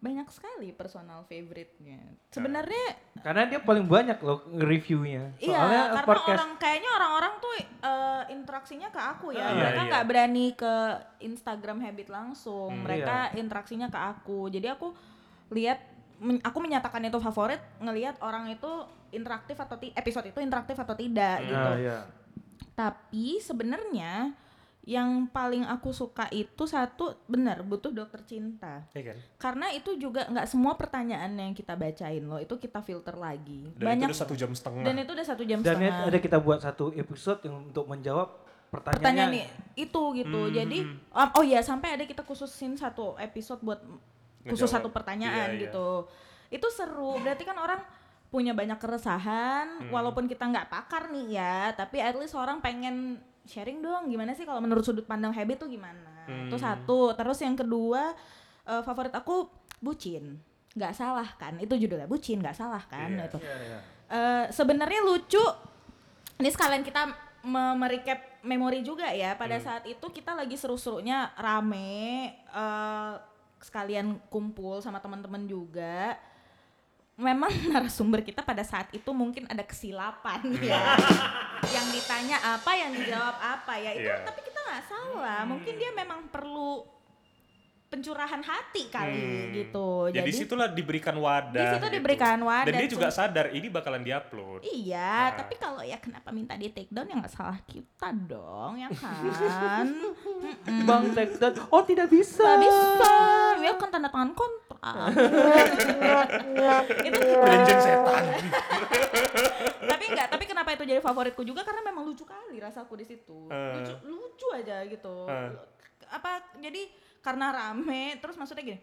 Speaker 2: banyak sekali personal favorite-nya. Sebenarnya
Speaker 3: Karena dia paling banyak loh reviewnya. Nah, Soalnya
Speaker 2: iya, karena
Speaker 3: podcast
Speaker 2: orang kayaknya orang-orang tuh eh, interaksinya ke aku ya.
Speaker 1: Iya,
Speaker 2: mereka
Speaker 1: iya.
Speaker 2: nggak berani ke Instagram habit langsung.
Speaker 1: Hmm.
Speaker 3: iya.
Speaker 2: mereka interaksinya ke aku. Jadi aku lihat men- aku menyatakan itu favorit ngelihat orang itu interaktif atau ti- episode itu interaktif atau
Speaker 1: Hmm.
Speaker 2: tidak gitu.
Speaker 3: Nah, iya.
Speaker 2: Tapi sebenarnya yang paling aku suka itu satu benar butuh dokter cinta.
Speaker 1: Iya kan?
Speaker 2: Karena itu juga nggak semua pertanyaan yang kita bacain loh, itu kita filter lagi.
Speaker 1: Dan
Speaker 2: Banyak
Speaker 1: itu udah satu jam setengah.
Speaker 2: dan itu udah satu jam
Speaker 3: Dan
Speaker 2: setengah.
Speaker 3: ada kita buat satu episode yang untuk menjawab
Speaker 2: pertanyaan nih
Speaker 3: pertanyaannya.
Speaker 2: itu gitu.
Speaker 1: Hmm,
Speaker 2: Jadi
Speaker 1: hmm,
Speaker 2: um, oh iya sampai ada kita khususin satu episode buat khusus
Speaker 1: Ngejawab.
Speaker 2: satu pertanyaan
Speaker 1: Iya, iya.
Speaker 2: gitu. Itu seru. Berarti kan orang punya banyak keresahan
Speaker 1: Hmm.
Speaker 2: walaupun kita nggak pakar nih ya, tapi at least orang pengen sharing dong gimana sih kalau menurut sudut pandang habit tuh gimana. Itu
Speaker 1: Hmm.
Speaker 2: satu. Terus yang kedua eh, favorit aku bucin. nggak salah kan? Itu judulnya bucin, nggak salah kan?
Speaker 1: Iya.
Speaker 2: Itu.
Speaker 4: Iya, iya.
Speaker 2: Eh, sebenarnya lucu ini sekalian kita me- merecap memori juga ya pada
Speaker 1: Hmm.
Speaker 2: saat itu kita lagi seru-serunya rame eh, sekalian kumpul sama teman-teman juga memang narasumber kita pada saat itu mungkin ada kesilapan
Speaker 1: Hmm.
Speaker 2: ya yang ditanya apa yang dijawab apa ya itu
Speaker 1: Iya. Hmm.
Speaker 2: tapi kita nggak salah mungkin dia memang perlu pencurahan hati kali
Speaker 1: Hmm.
Speaker 2: gitu
Speaker 1: Ya di situlah diberikan wadah. gitu.
Speaker 2: Di situ diberikan wadah,
Speaker 1: Dan dia juga
Speaker 2: cuma-
Speaker 1: sadar ini bakalan diupload.
Speaker 2: Iya,
Speaker 1: Nah.
Speaker 2: tapi kalau ya kenapa minta di take down ya nggak salah kita dong, ya kan? Mm-mm.
Speaker 3: Bang take down. Oh, tidak bisa.
Speaker 2: Nggak bisa, ya kan tanda tangan kontrak. itu,
Speaker 1: Janjian setan.
Speaker 2: tapi enggak, tapi kenapa itu jadi favoritku juga karena memang lucu kali rasaku di situ.
Speaker 1: Eh.
Speaker 2: Lucu, lucu aja gitu.
Speaker 1: Eh.
Speaker 2: Apa jadi karena rame, terus maksudnya gini,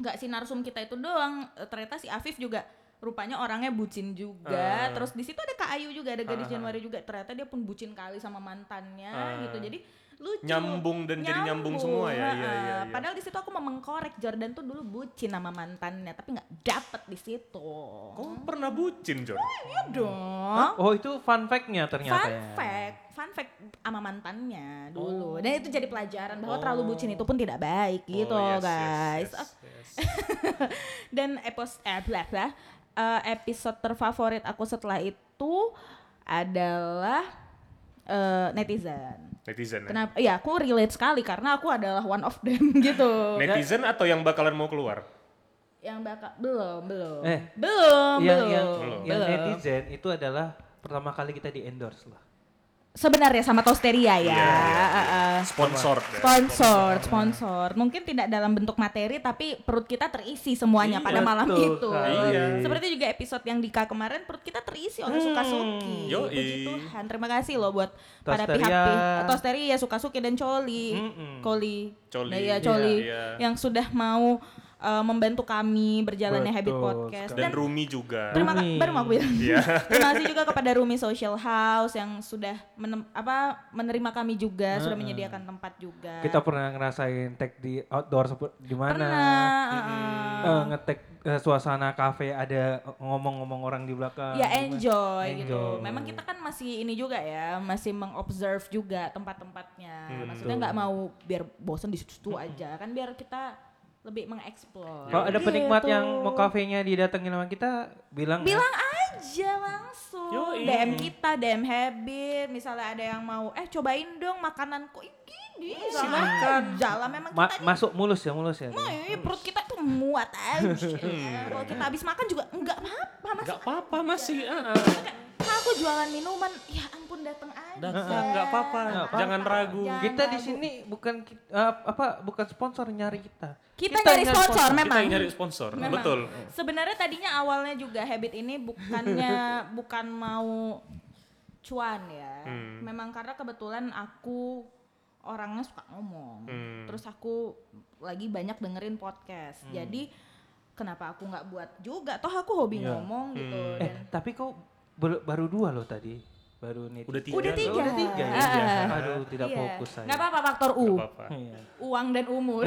Speaker 2: nggak si narsum kita itu doang, eh, ternyata si Afif juga rupanya orangnya bucin juga.
Speaker 1: Eh.
Speaker 2: Terus di situ ada Kak Ayu juga, ada
Speaker 1: Ah, ah,
Speaker 2: gadis
Speaker 1: ah.
Speaker 2: Januari juga. Ternyata dia pun bucin kali sama mantannya
Speaker 1: Eh.
Speaker 2: gitu. Jadi lucu.
Speaker 1: Nyambung dan jadi nyambung semua ya. Iya
Speaker 2: heeh.
Speaker 1: iya iya.
Speaker 2: Padahal di situ aku mau mengkorek Jordan tuh dulu bucin sama mantannya, tapi nggak dapet di situ.
Speaker 1: Kau pernah bucin, Jor?
Speaker 2: Iya dong.
Speaker 3: Oh, itu fun fact-nya ternyata
Speaker 2: Fun
Speaker 3: ya.
Speaker 2: fact, fun fact sama mantannya dulu. Dan itu jadi pelajaran bahwa terlalu bucin itu pun tidak baik gitu,
Speaker 1: Oh. Oh, yes, yes,
Speaker 2: guys. Ah.
Speaker 1: yes, yes.
Speaker 2: Dan epos eh blah, blah. Eh, episode terfavorit aku setelah itu adalah eh, netizen.
Speaker 1: Netizen. ya?
Speaker 2: Kenapa? Ya, aku relate sekali karena aku adalah one of them gitu.
Speaker 1: Netizen atau yang bakalan mau keluar?
Speaker 2: Yang bakal belum, belum.
Speaker 3: Eh.
Speaker 2: Belum,
Speaker 3: Yang,
Speaker 2: belum.
Speaker 3: yang,
Speaker 1: Belum.
Speaker 3: yang
Speaker 2: belum.
Speaker 3: netizen itu adalah pertama kali kita di endorse lah.
Speaker 2: Nah. Sebenarnya sama Tosteria ya.
Speaker 1: Iya, iya,
Speaker 2: eh, eh.
Speaker 1: Sponsor. ya.
Speaker 2: sponsor sponsor mungkin tidak dalam bentuk materi tapi perut kita terisi semuanya
Speaker 1: Iya,
Speaker 2: pada malam
Speaker 3: Betul
Speaker 2: itu
Speaker 3: sekali.
Speaker 1: Iya. Hmm,
Speaker 2: seperti juga episode yang Dika kemarin perut kita terisi oleh suka suki
Speaker 1: yoi.
Speaker 2: puji Tuhan terima kasih loh buat pada
Speaker 3: Tosteria.
Speaker 2: pihak Tosteria suka suki dan Coli
Speaker 3: Mm-mm.
Speaker 2: Coli
Speaker 1: Coli.
Speaker 2: Nah, iya,
Speaker 1: Iya,
Speaker 2: Coli
Speaker 1: iya.
Speaker 2: yang sudah mau eh, membantu kami berjalannya Habit
Speaker 3: Betul
Speaker 2: Podcast.
Speaker 1: Dan Rumi juga.
Speaker 2: Terima
Speaker 3: Rumi. Iya.
Speaker 2: kasih baru mau aku bilang. Terima kasih juga kepada Rumi Social House yang sudah menem- apa menerima kami juga, sudah menyediakan tempat juga.
Speaker 3: Kita pernah ngerasain tag di outdoor sepe- di mana.
Speaker 2: pernah.
Speaker 3: Eh,
Speaker 2: eh, eh.
Speaker 3: ngetek eh, suasana kafe ada ngomong-ngomong orang di
Speaker 2: ya
Speaker 3: belakang. Oh, gimana.
Speaker 2: enjoy, gitu.
Speaker 3: Enjoy.
Speaker 2: Memang kita kan masih ini juga ya, masih mengobserve juga tempat-tempatnya.
Speaker 1: Hmm.
Speaker 2: Maksudnya nggak mau biar bosen di situ aja, kan biar kita lebih mengeksplor.
Speaker 3: Kalau ada penikmat
Speaker 2: Gitu.
Speaker 3: yang mau kafenya didatengin sama kita, bilang. ya.
Speaker 2: bilang aja langsung
Speaker 1: Yoi.
Speaker 2: DM kita DM Habit misalnya ada yang mau eh cobain dong makananku
Speaker 1: Iya
Speaker 2: ini silakan jalan memang
Speaker 3: Ma-
Speaker 2: kita
Speaker 3: masuk mulus ya, mulus ya.
Speaker 2: mau ini perut kita tuh muat aja
Speaker 1: Iya.
Speaker 2: kalau kita habis makan juga enggak apa-apa mas
Speaker 1: Gak apa-apa masih. ah, ah.
Speaker 2: Nah, aku jualan minuman ya ampun dateng aja
Speaker 1: Datang, nggak apa-apa.
Speaker 3: Nggak apa-apa.
Speaker 1: Jangan ragu.
Speaker 2: Jangan.
Speaker 3: Kita di
Speaker 2: ragu.
Speaker 3: sini bukan ki- eh, apa bukan sponsor nyari kita.
Speaker 2: kita, nyari sponsor
Speaker 1: Kita
Speaker 2: memang
Speaker 1: yang nyari sponsor.
Speaker 2: Memang.
Speaker 1: Betul.
Speaker 2: Sebenarnya tadinya awalnya juga habit ini bukannya bukan mau cuan ya.
Speaker 1: Hmm.
Speaker 2: Memang karena kebetulan aku orangnya suka ngomong.
Speaker 1: Hmm.
Speaker 2: Terus aku lagi banyak dengerin podcast. Jadi kenapa aku nggak buat juga? Toh aku hobi
Speaker 3: Iya.
Speaker 2: ngomong gitu.
Speaker 1: Hmm.
Speaker 3: Eh,
Speaker 2: Dan
Speaker 3: tapi kok bel- baru dua loh tadi. Baru nih.
Speaker 1: Udah tiga.
Speaker 2: Udah
Speaker 1: loh. Iya.
Speaker 2: tiga.
Speaker 3: Udah tiga ya.
Speaker 2: Ah.
Speaker 3: Aduh, tidak
Speaker 2: iya.
Speaker 3: fokus saya.
Speaker 2: Nggak apa-apa faktor U.
Speaker 1: Nggak apa-apa.
Speaker 3: Iya.
Speaker 2: Uang dan umur.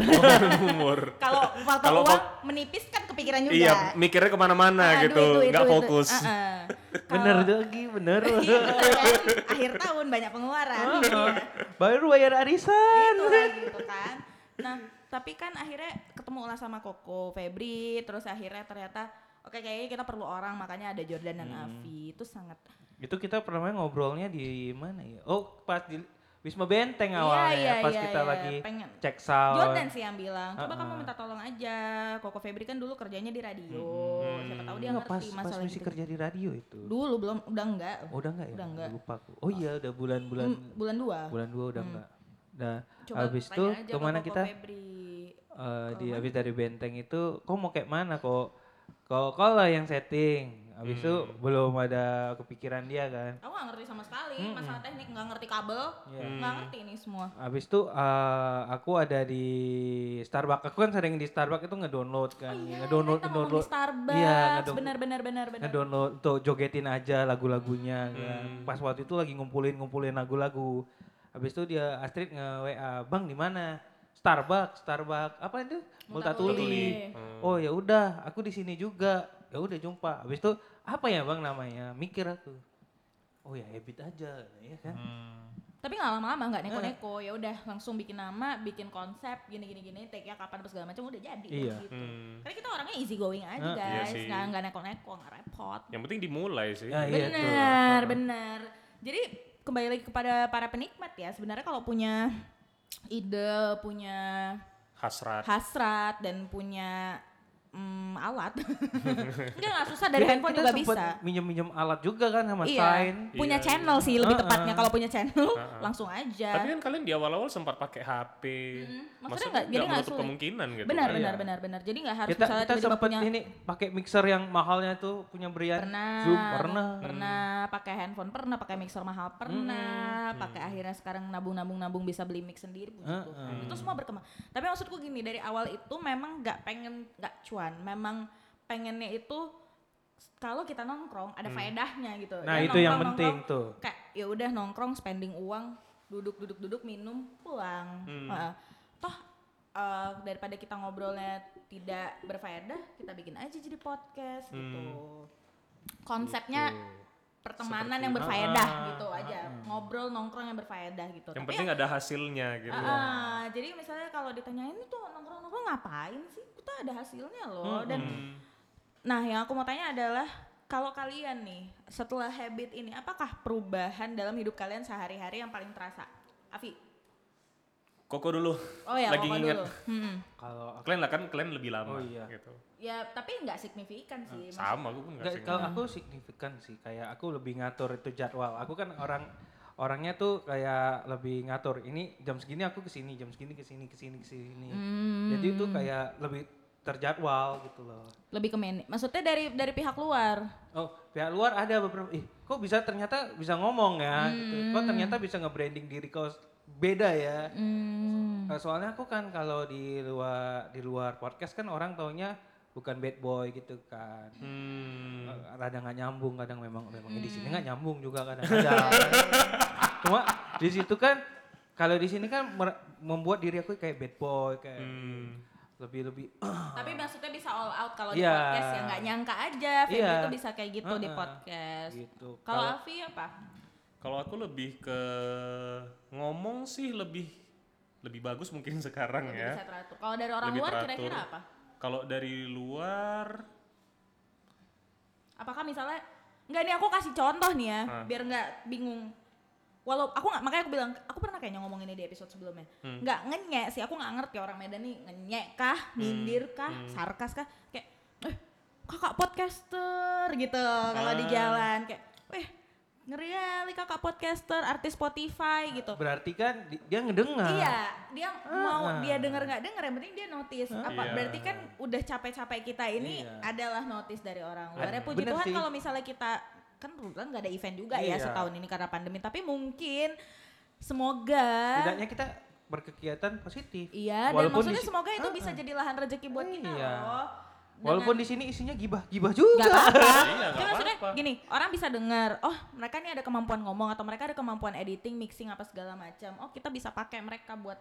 Speaker 1: Umur.
Speaker 2: Kalau faktor
Speaker 1: Kalau
Speaker 2: uang
Speaker 1: fak-
Speaker 2: menipis kan kepikiran juga.
Speaker 1: Iya, mikirnya kemana-mana
Speaker 2: Ah,
Speaker 1: gitu,
Speaker 2: duit, duit,
Speaker 1: nggak
Speaker 2: duit, duit.
Speaker 1: fokus.
Speaker 2: Ah, ah. Kalau-
Speaker 3: Bener lagi, bener.
Speaker 2: Iya, kan? akhir tahun banyak pengeluaran
Speaker 3: Oh.
Speaker 2: gitu ya.
Speaker 3: baru bayar arisan.
Speaker 2: Itu lagi gitu kan nah tapi kan akhirnya ketemu lah sama Koko Febri terus akhirnya ternyata oke kayaknya kita perlu orang makanya ada Jordan dan
Speaker 3: Hmm.
Speaker 2: Avi itu sangat
Speaker 3: Itu kita pernah ngobrolnya di mana ya? Oh, pas di Wisma Benteng awalnya,
Speaker 2: Iya, iya,
Speaker 3: pas
Speaker 2: iya,
Speaker 3: kita
Speaker 2: iya.
Speaker 3: lagi
Speaker 2: Pengen.
Speaker 3: cek sound.
Speaker 2: Jordan sih yang bilang coba
Speaker 3: Ah,
Speaker 2: kamu
Speaker 3: ah.
Speaker 2: minta tolong aja Koko Febri kan dulu kerjanya di radio
Speaker 3: Hmm.
Speaker 2: siapa tahu dia
Speaker 3: Enggak,
Speaker 2: ngerti
Speaker 3: pas, pas
Speaker 2: masalah
Speaker 3: masih
Speaker 2: gitu.
Speaker 3: kerja di radio itu.
Speaker 2: dulu belum udah enggak
Speaker 3: Oh, udah enggak ya?
Speaker 2: Udah enggak.
Speaker 3: Lupa aku. Oh iya, udah bulan-bulan
Speaker 2: Hmm, bulan dua
Speaker 3: bulan dua udah
Speaker 2: Hmm.
Speaker 3: enggak. Nah,
Speaker 2: coba
Speaker 3: habis itu
Speaker 2: tanya aja ke
Speaker 3: kemana
Speaker 2: Koko
Speaker 3: kita?
Speaker 2: Febri
Speaker 3: Eh, di habis dari Benteng itu, kok mau kayak mana kok? Kok kok lah yang setting. Habis itu belum ada kepikiran dia kan.
Speaker 2: Aku gak ngerti sama sekali
Speaker 3: Hmm.
Speaker 2: masalah teknik, gak ngerti kabel,
Speaker 3: Iya.
Speaker 2: gak ngerti ini semua.
Speaker 3: Habis itu eh, aku ada di Starbucks. Aku kan sering di Starbucks itu ngedownload
Speaker 2: Oh
Speaker 3: kan.
Speaker 2: iya,
Speaker 3: ngedownload
Speaker 2: kita ngomong di
Speaker 3: ngedownload
Speaker 2: Starbucks,
Speaker 3: Iya, ngedownload-
Speaker 2: benar benar benar benar.
Speaker 3: ngedownload untuk jogetin aja lagu-lagunya kan. Pas waktu itu lagi ngumpulin-ngumpulin lagu-lagu. Habis itu dia Astrid nge-WA, "Bang, di mana?" Starbucks, Starbucks. Apa itu? Multatuli. Oh ya udah, aku di sini juga. Ya udah jumpa. Habis itu apa ya, Bang namanya? Mikir aku. Oh ya, habit aja ya kan.
Speaker 2: Hmm.
Speaker 1: Hmm.
Speaker 2: Tapi gak lama-lama gak neko-neko, ya udah langsung bikin nama, bikin konsep, gini gini gini, take nya kapan apa segala macam udah jadi.
Speaker 3: Iya.
Speaker 2: Gitu.
Speaker 1: Hmm.
Speaker 2: Karena kita orangnya easy going aja
Speaker 3: Eh,
Speaker 1: iya
Speaker 2: guys,
Speaker 1: sih.
Speaker 2: nggak nggak neko-neko, nggak repot.
Speaker 3: Iya,
Speaker 1: Yang penting dimulai sih.
Speaker 3: Ya, iya. tuh.
Speaker 2: Benar, benar. Jadi kembali lagi kepada para penikmat ya, sebenarnya kalau punya ide, punya
Speaker 1: Hasrat.
Speaker 2: hasrat dan punya mm, alat. Enggak nggak susah dari
Speaker 3: Kita-
Speaker 2: handphone
Speaker 3: Iya, Kan kita
Speaker 2: juga
Speaker 3: sempet
Speaker 2: bisa.
Speaker 3: Minjem-minjem alat juga kan sama
Speaker 2: Iya,
Speaker 3: Sain.
Speaker 2: punya
Speaker 1: Iya, iya.
Speaker 2: channel sih lebih
Speaker 3: Heeh.
Speaker 2: tepatnya. Kalau punya channel
Speaker 1: Heeh.
Speaker 2: langsung
Speaker 1: Tapi
Speaker 2: aja.
Speaker 1: kan kalian di awal-awal sempat pakai HP.
Speaker 2: Iya. Hmm, Maksudnya nggak- jadi
Speaker 1: nggak
Speaker 2: nggak
Speaker 1: menutup
Speaker 2: sulit.
Speaker 1: kemungkinan gitu.
Speaker 2: benar,
Speaker 1: kan?
Speaker 2: benar,
Speaker 3: Iya.
Speaker 2: benar, benar. Jadi nggak harus
Speaker 3: Kita
Speaker 2: misalnya
Speaker 3: kita
Speaker 2: tiba-tiba
Speaker 3: sempet
Speaker 2: punya
Speaker 3: ini pakai mixer yang mahalnya tuh punya Brian.
Speaker 2: pernah,
Speaker 3: Zoom pernah. Hmm.
Speaker 2: pernah pakai handphone pernah, pakai mixer mahal pernah, pakai akhirnya sekarang nabung-nabung-nabung bisa beli mix sendiri puji
Speaker 3: Heeh.
Speaker 2: Tuhan. Itu semua berkembang. Tapi maksudku gini dari awal itu memang nggak pengen nggak cuan, memang pengennya itu kalau kita nongkrong ada faedahnya gitu.
Speaker 3: Hmm.
Speaker 2: Ya,
Speaker 3: Nah, itu
Speaker 2: nongkrong,
Speaker 3: yang penting
Speaker 2: nongkrong,
Speaker 3: tuh.
Speaker 2: kayak ya udah nongkrong spending uang duduk duduk duduk minum pulang
Speaker 1: Hmm.
Speaker 2: Heeh. toh eh, daripada kita ngobrolnya tidak berfaedah kita bikin aja jadi podcast
Speaker 1: Hmm.
Speaker 2: gitu konsepnya
Speaker 1: Gitu.
Speaker 2: pertemanan yang berfaedah gitu aja ngobrol nongkrong yang berfaedah gitu
Speaker 1: Ah, Yang
Speaker 2: Tapi
Speaker 1: penting ada hasilnya
Speaker 3: Iya,
Speaker 1: gitu.
Speaker 2: Ah, ah, jadi misalnya kalau ditanyain itu nongkrong-nongkrong ngapain sih? Kita ada hasilnya loh.
Speaker 3: Hmm,
Speaker 2: Dan nah, yang aku mau tanya adalah kalau kalian nih setelah habit ini apakah perubahan dalam hidup kalian sehari-hari yang paling terasa? Avi.
Speaker 1: Koko dulu.
Speaker 2: Oh ya,
Speaker 1: Lagi
Speaker 2: Koko
Speaker 1: nginget.
Speaker 2: dulu. Hmm.
Speaker 3: Kalau aku
Speaker 1: Kalian lah kan kalian lebih lama
Speaker 3: Oh, iya.
Speaker 1: gitu.
Speaker 2: Ya, tapi nggak signifikan sih.
Speaker 3: Hmm,
Speaker 2: Mas.
Speaker 1: Sama aku pun enggak
Speaker 3: Nggak,
Speaker 1: sih.
Speaker 3: kalau aku signifikan sih kayak aku lebih ngatur itu jadwal. Aku kan orang orangnya tuh kayak lebih ngatur. Ini jam segini aku kesini, jam segini kesini, kesini kesini. Jadi itu kayak lebih terjadwal gitu loh.
Speaker 2: Lebih ke manage. Maksudnya dari dari pihak luar.
Speaker 3: Oh, pihak luar ada beberapa. Ih, kok bisa ternyata bisa ngomong ya? Gitu. Kok ternyata bisa nge-branding diri kau beda ya.
Speaker 2: Hmm.
Speaker 3: Nah, soalnya aku kan kalau di luar di luar podcast kan orang taunya bukan bad boy gitu kan.
Speaker 1: Hmm.
Speaker 3: Kadang nggak nyambung, kadang memang memang di sini
Speaker 2: Hmm.
Speaker 3: nggak nyambung juga kadang-kadang. Cuma di situ kan kalau di sini kan mer- membuat diri aku kayak bad boy kayak
Speaker 1: Hmm.
Speaker 3: lebih lebih
Speaker 2: Tapi maksudnya bisa all out kalau di
Speaker 3: Iya.
Speaker 2: podcast ya nggak nyangka aja Febri
Speaker 3: Iya.
Speaker 2: tuh bisa kayak gitu di
Speaker 3: Heeh.
Speaker 2: podcast.
Speaker 3: gitu.
Speaker 2: Kalau Avi apa?
Speaker 1: Kalau aku lebih ke ngomong sih lebih lebih bagus mungkin sekarang
Speaker 2: Lebih
Speaker 1: ya.
Speaker 2: bisa teratur. Kalau dari orang
Speaker 1: Lebih
Speaker 2: luar
Speaker 1: teratur.
Speaker 2: kira-kira apa?
Speaker 1: Kalau dari luar
Speaker 2: Apakah misalnya nggak nih aku kasih contoh nih ya,
Speaker 1: Ah.
Speaker 2: biar nggak bingung. Walau aku nggak makanya aku bilang aku pernah kayaknya ngomong ini di episode sebelumnya.
Speaker 1: Hmm.
Speaker 2: Nggak ngenyek sih, aku nggak ngerti orang Medan nih ngenyek kah, nyindir kah,
Speaker 1: Hmm.
Speaker 2: sarkas kah, kayak eh kakak podcaster gitu kalau di
Speaker 1: Ah.
Speaker 2: jalan kayak eh ngeri kali kakak podcaster, artis Spotify gitu.
Speaker 3: Berarti kan di- dia ngedengar.
Speaker 2: Iya, dia mau
Speaker 3: Ah.
Speaker 2: dia denger nggak denger yang penting dia notice. Apa
Speaker 1: Iya.
Speaker 2: berarti kan udah capek-capek kita ini
Speaker 3: Iya.
Speaker 2: adalah notice dari orang luar. Ya
Speaker 3: Ad-
Speaker 2: puji
Speaker 3: bener
Speaker 2: Tuhan
Speaker 3: sih.
Speaker 2: kalau misalnya kita kan kebetulan nggak ada event juga ya
Speaker 3: Iya.
Speaker 2: setahun ini karena pandemi, tapi mungkin semoga
Speaker 3: Setidaknya kita berkegiatan positif.
Speaker 2: Iya, dan
Speaker 3: Walaupun
Speaker 2: maksudnya
Speaker 3: di si-
Speaker 2: semoga itu
Speaker 3: Ah,
Speaker 2: bisa
Speaker 3: ah.
Speaker 2: jadi lahan rezeki buat kita
Speaker 3: Iya.
Speaker 2: loh.
Speaker 3: Walaupun di sini isinya gibah-gibah
Speaker 2: Gak
Speaker 3: juga.
Speaker 2: apa-apa.
Speaker 1: Iya,
Speaker 2: Tapi
Speaker 1: gak
Speaker 2: maksudnya
Speaker 1: apa-apa.
Speaker 2: gini, orang bisa dengar, oh mereka nih ada kemampuan ngomong atau mereka ada kemampuan editing, mixing apa segala macam. Oh kita bisa pakai mereka buat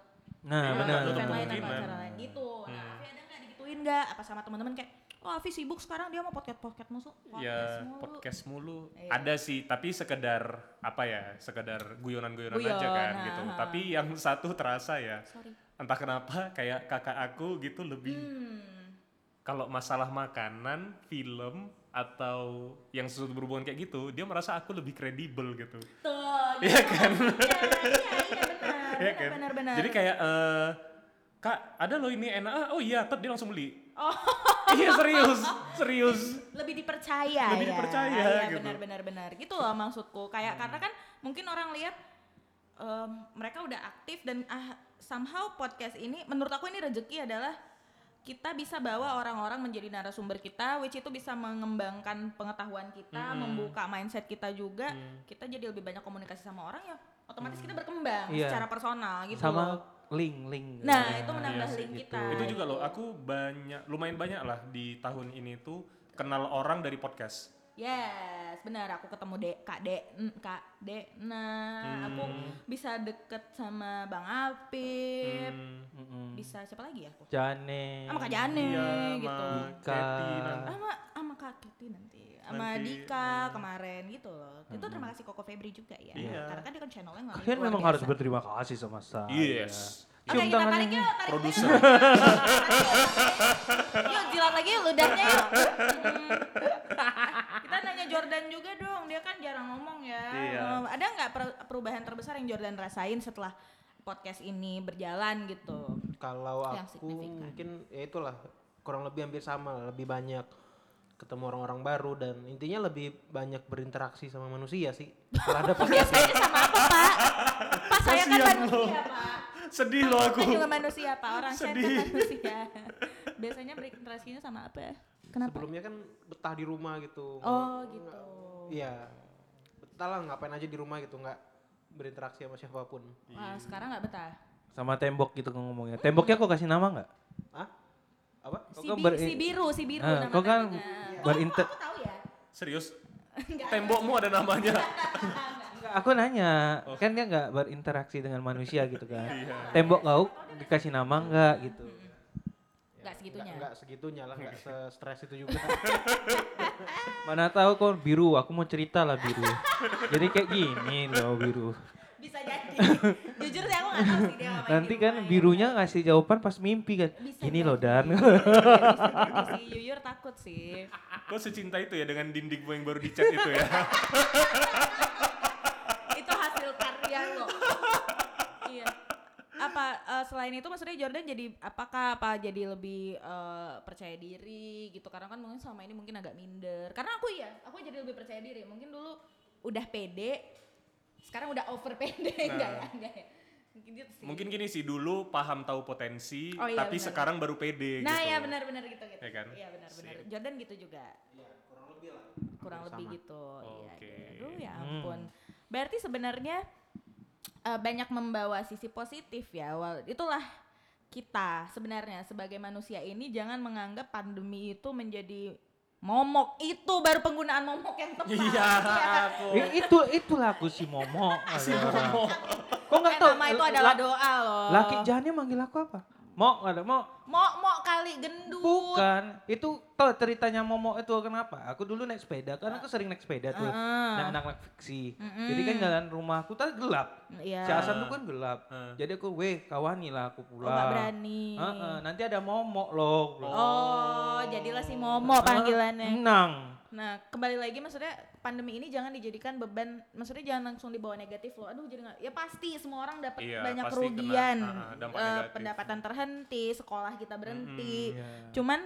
Speaker 3: Nah,
Speaker 1: Iya,
Speaker 3: benar.
Speaker 1: ada
Speaker 2: event lain apa
Speaker 1: kemungkinan.
Speaker 2: acara lain gitu. Nah,
Speaker 1: Hmm.
Speaker 2: Avi ada nggak digituin nggak? Apa sama teman-teman kayak, oh Avi sibuk sekarang dia mau podcast podcast musuh.
Speaker 1: ya
Speaker 2: mulu."
Speaker 1: podcast mulu
Speaker 2: Iya.
Speaker 1: ada sih tapi sekedar apa ya sekedar guyonan-guyonan
Speaker 2: Guyon,
Speaker 1: aja kan
Speaker 2: nah,
Speaker 1: gitu
Speaker 2: ha.
Speaker 1: tapi yang satu terasa ya
Speaker 2: Sorry.
Speaker 1: entah kenapa kayak kakak aku gitu lebih
Speaker 2: Hmm.
Speaker 1: kalau masalah makanan film atau yang sesuatu berhubungan kayak gitu dia merasa aku lebih kredibel gitu
Speaker 2: Tuh.
Speaker 1: Iya
Speaker 2: gitu.
Speaker 1: kan?
Speaker 2: Iya, iya benar.
Speaker 1: Iya
Speaker 2: benar,
Speaker 1: kan?
Speaker 2: benar, benar.
Speaker 1: jadi kayak eh kak ada loh ini enak ah, oh iya tet dia langsung beli
Speaker 2: Oh.
Speaker 1: iya serius serius
Speaker 2: lebih dipercaya
Speaker 1: Lebih
Speaker 2: ya.
Speaker 1: dipercaya,
Speaker 2: Iya,
Speaker 1: gitu. Hmm.
Speaker 2: benar benar benar gitu loh maksudku kayak karena kan mungkin orang lihat em, mereka udah aktif dan ah, somehow podcast ini menurut aku ini rezeki adalah kita bisa bawa orang-orang menjadi narasumber kita which itu bisa mengembangkan pengetahuan kita
Speaker 1: Hmm.
Speaker 2: membuka mindset kita juga kita jadi lebih banyak komunikasi sama orang ya otomatis
Speaker 1: Hmm.
Speaker 2: kita berkembang
Speaker 3: Iya.
Speaker 2: secara personal gitu
Speaker 3: Sama
Speaker 2: loh.
Speaker 3: link-link.
Speaker 2: nah itu menambah
Speaker 1: sih,
Speaker 2: link kita
Speaker 1: itu juga loh aku banyak lumayan banyak lah di tahun ini tuh kenal orang dari podcast
Speaker 2: Yes, benar aku ketemu Dek Kak Dek Kak Dekna.
Speaker 1: Hmm.
Speaker 2: Aku bisa deket sama Bang Apip.
Speaker 1: Hmm,
Speaker 2: Bisa siapa lagi ya aku?
Speaker 3: Jane.
Speaker 2: Sama Kak Jane
Speaker 1: iya,
Speaker 2: gitu.
Speaker 1: sama Kathy nanti.
Speaker 2: Sama sama Kak Kitty nanti. Sama
Speaker 1: Nanti, hmm.
Speaker 2: Dika kemarin gitu loh. Itu terima kasih Koko Febri juga ya.
Speaker 1: Iya.
Speaker 2: Karena kan dia kan channelnya nggak
Speaker 3: Kalian memang harus berterima kasih sama saya.
Speaker 1: Yes.
Speaker 2: Oke,
Speaker 3: Cium
Speaker 2: kita
Speaker 3: tangannya.
Speaker 2: tarik yuk, tarik
Speaker 1: Produser.
Speaker 2: yuk. Yuk, jilat lagi yuk ludahnya yuk. Hmm. Kita nanya Jordan juga dong, dia kan jarang ngomong ya.
Speaker 1: Iya.
Speaker 2: Eh, Ada nggak per- perubahan terbesar yang Jordan rasain setelah podcast ini berjalan gitu?
Speaker 4: Kalau
Speaker 2: Yang
Speaker 4: aku
Speaker 2: signifikan.
Speaker 4: mungkin ya itulah kurang lebih hampir sama, lah, lebih banyak ketemu orang-orang baru dan intinya lebih banyak berinteraksi sama manusia sih. Kalau ada podcast
Speaker 2: Biasanya sama apa pak? Pak saya kan
Speaker 1: Kasian
Speaker 2: manusia pak.
Speaker 1: sedih loh aku
Speaker 2: Saya juga manusia pak, orang saya kan
Speaker 1: Sedih.
Speaker 2: manusia. Biasanya berinteraksinya sama apa? Kenapa?
Speaker 4: sebelumnya kan betah di rumah gitu.
Speaker 2: Oh gitu.
Speaker 4: Iya. Betah lah ngapain aja di rumah gitu, nggak berinteraksi sama siapapun.
Speaker 2: Wah sekarang nggak betah.
Speaker 3: Sama tembok gitu ngomongnya. Temboknya kok kasih nama nggak?
Speaker 4: Hah? Apa?
Speaker 3: Kok
Speaker 2: Si,
Speaker 3: kan
Speaker 2: bi-
Speaker 3: ber-
Speaker 2: si biru, si biru.
Speaker 3: Ah,
Speaker 2: nama
Speaker 3: kok kan
Speaker 2: tadinya.
Speaker 3: berinter-
Speaker 2: Oh, aku tahu ya.
Speaker 1: serius
Speaker 2: Enggak.
Speaker 1: tembokmu ada namanya
Speaker 3: Nggak, aku nanya, kan dia nggak berinteraksi dengan manusia gitu kan. Tembok kau dikasih nama nggak gitu.
Speaker 2: Nggak segitunya.
Speaker 4: Nggak, nggak segitunya lah, nggak se-stres itu juga.
Speaker 3: Mana tahu kok biru, aku mau cerita lah biru. Jadi kayak gini loh biru.
Speaker 2: Bisa jadi. Jujur sih aku nggak tahu sih dia ngapain.
Speaker 3: Nanti
Speaker 2: di
Speaker 3: kan
Speaker 2: rumah ya.
Speaker 3: birunya ngasih jawaban pas mimpi kan.
Speaker 2: Bisa
Speaker 3: Gini loh
Speaker 2: jadi.
Speaker 3: Dan.
Speaker 2: Bisa jadi sih, Yuyur takut sih.
Speaker 1: kau secinta itu ya dengan dindingmu yang baru dicat itu ya
Speaker 2: Itu hasil karya lo. Iya. Apa eh, selain itu maksudnya Jordan jadi apakah apa jadi lebih eh, percaya diri gitu karena kan mungkin selama ini mungkin agak minder. Karena aku ya, aku jadi lebih percaya diri. Mungkin dulu udah pede, sekarang udah over pede enggak ya? Enggak ya. Mungkin gitu sih.
Speaker 1: mungkin gini sih dulu paham tahu potensi
Speaker 2: Oh iya,
Speaker 1: tapi
Speaker 2: benar.
Speaker 1: sekarang baru pede
Speaker 2: Nah
Speaker 1: gitu
Speaker 2: ya benar-benar gitu gitu.
Speaker 1: Ya kan?
Speaker 2: Iya benar-benar. Jordan gitu juga. kurang lebih lah. Kurang lebih gitu. Iya.
Speaker 1: Oke.
Speaker 3: Hmm.
Speaker 2: gitu. Aduh, ya ampun. Berarti sebenarnya eh, banyak membawa sisi positif ya. Wal- Itulah kita sebenarnya sebagai manusia ini jangan menganggap pandemi itu menjadi momok itu baru penggunaan momok yang tepat.
Speaker 1: Iya,
Speaker 2: ya kan?
Speaker 1: aku.
Speaker 3: Eh, itu itulah aku si Momo. Si Momo.
Speaker 2: Eh,
Speaker 3: Kok nggak tahu?
Speaker 2: nama itu
Speaker 3: La-
Speaker 2: adalah doa loh.
Speaker 3: Laki jahannya manggil aku apa? Mo, ada Mo.
Speaker 2: Mok mok kali gendut.
Speaker 3: Bukan, itu tau ceritanya Momo itu kenapa? Aku dulu naik sepeda, karena aku sering naik sepeda tuh.
Speaker 2: Heeh.
Speaker 3: Nah, anak-anak fiksi.
Speaker 2: Mm-mm.
Speaker 3: Jadi kan jalan rumahku tuh gelap.
Speaker 2: Iya.
Speaker 3: Si Hasan tuh kan gelap.
Speaker 1: Heeh.
Speaker 3: Jadi aku, weh kawani lah aku
Speaker 2: Oh, nggak
Speaker 3: pulang.
Speaker 2: berani.
Speaker 3: Heeh, nanti ada Momo loh.
Speaker 2: Oh, jadilah si Momo
Speaker 3: Oh,
Speaker 2: panggilannya.
Speaker 3: Nang.
Speaker 2: Nah, kembali lagi maksudnya pandemi ini jangan dijadikan beban, maksudnya jangan langsung dibawa negatif loh. Aduh, jadi nggak ya pasti semua orang dapat
Speaker 1: Iya,
Speaker 2: banyak
Speaker 1: pasti
Speaker 2: kerugian.
Speaker 1: kena, ah, ah, dampak
Speaker 2: Eh,
Speaker 1: negatif.
Speaker 2: pendapatan terhenti, sekolah kita berhenti.
Speaker 3: Iya.
Speaker 2: Cuman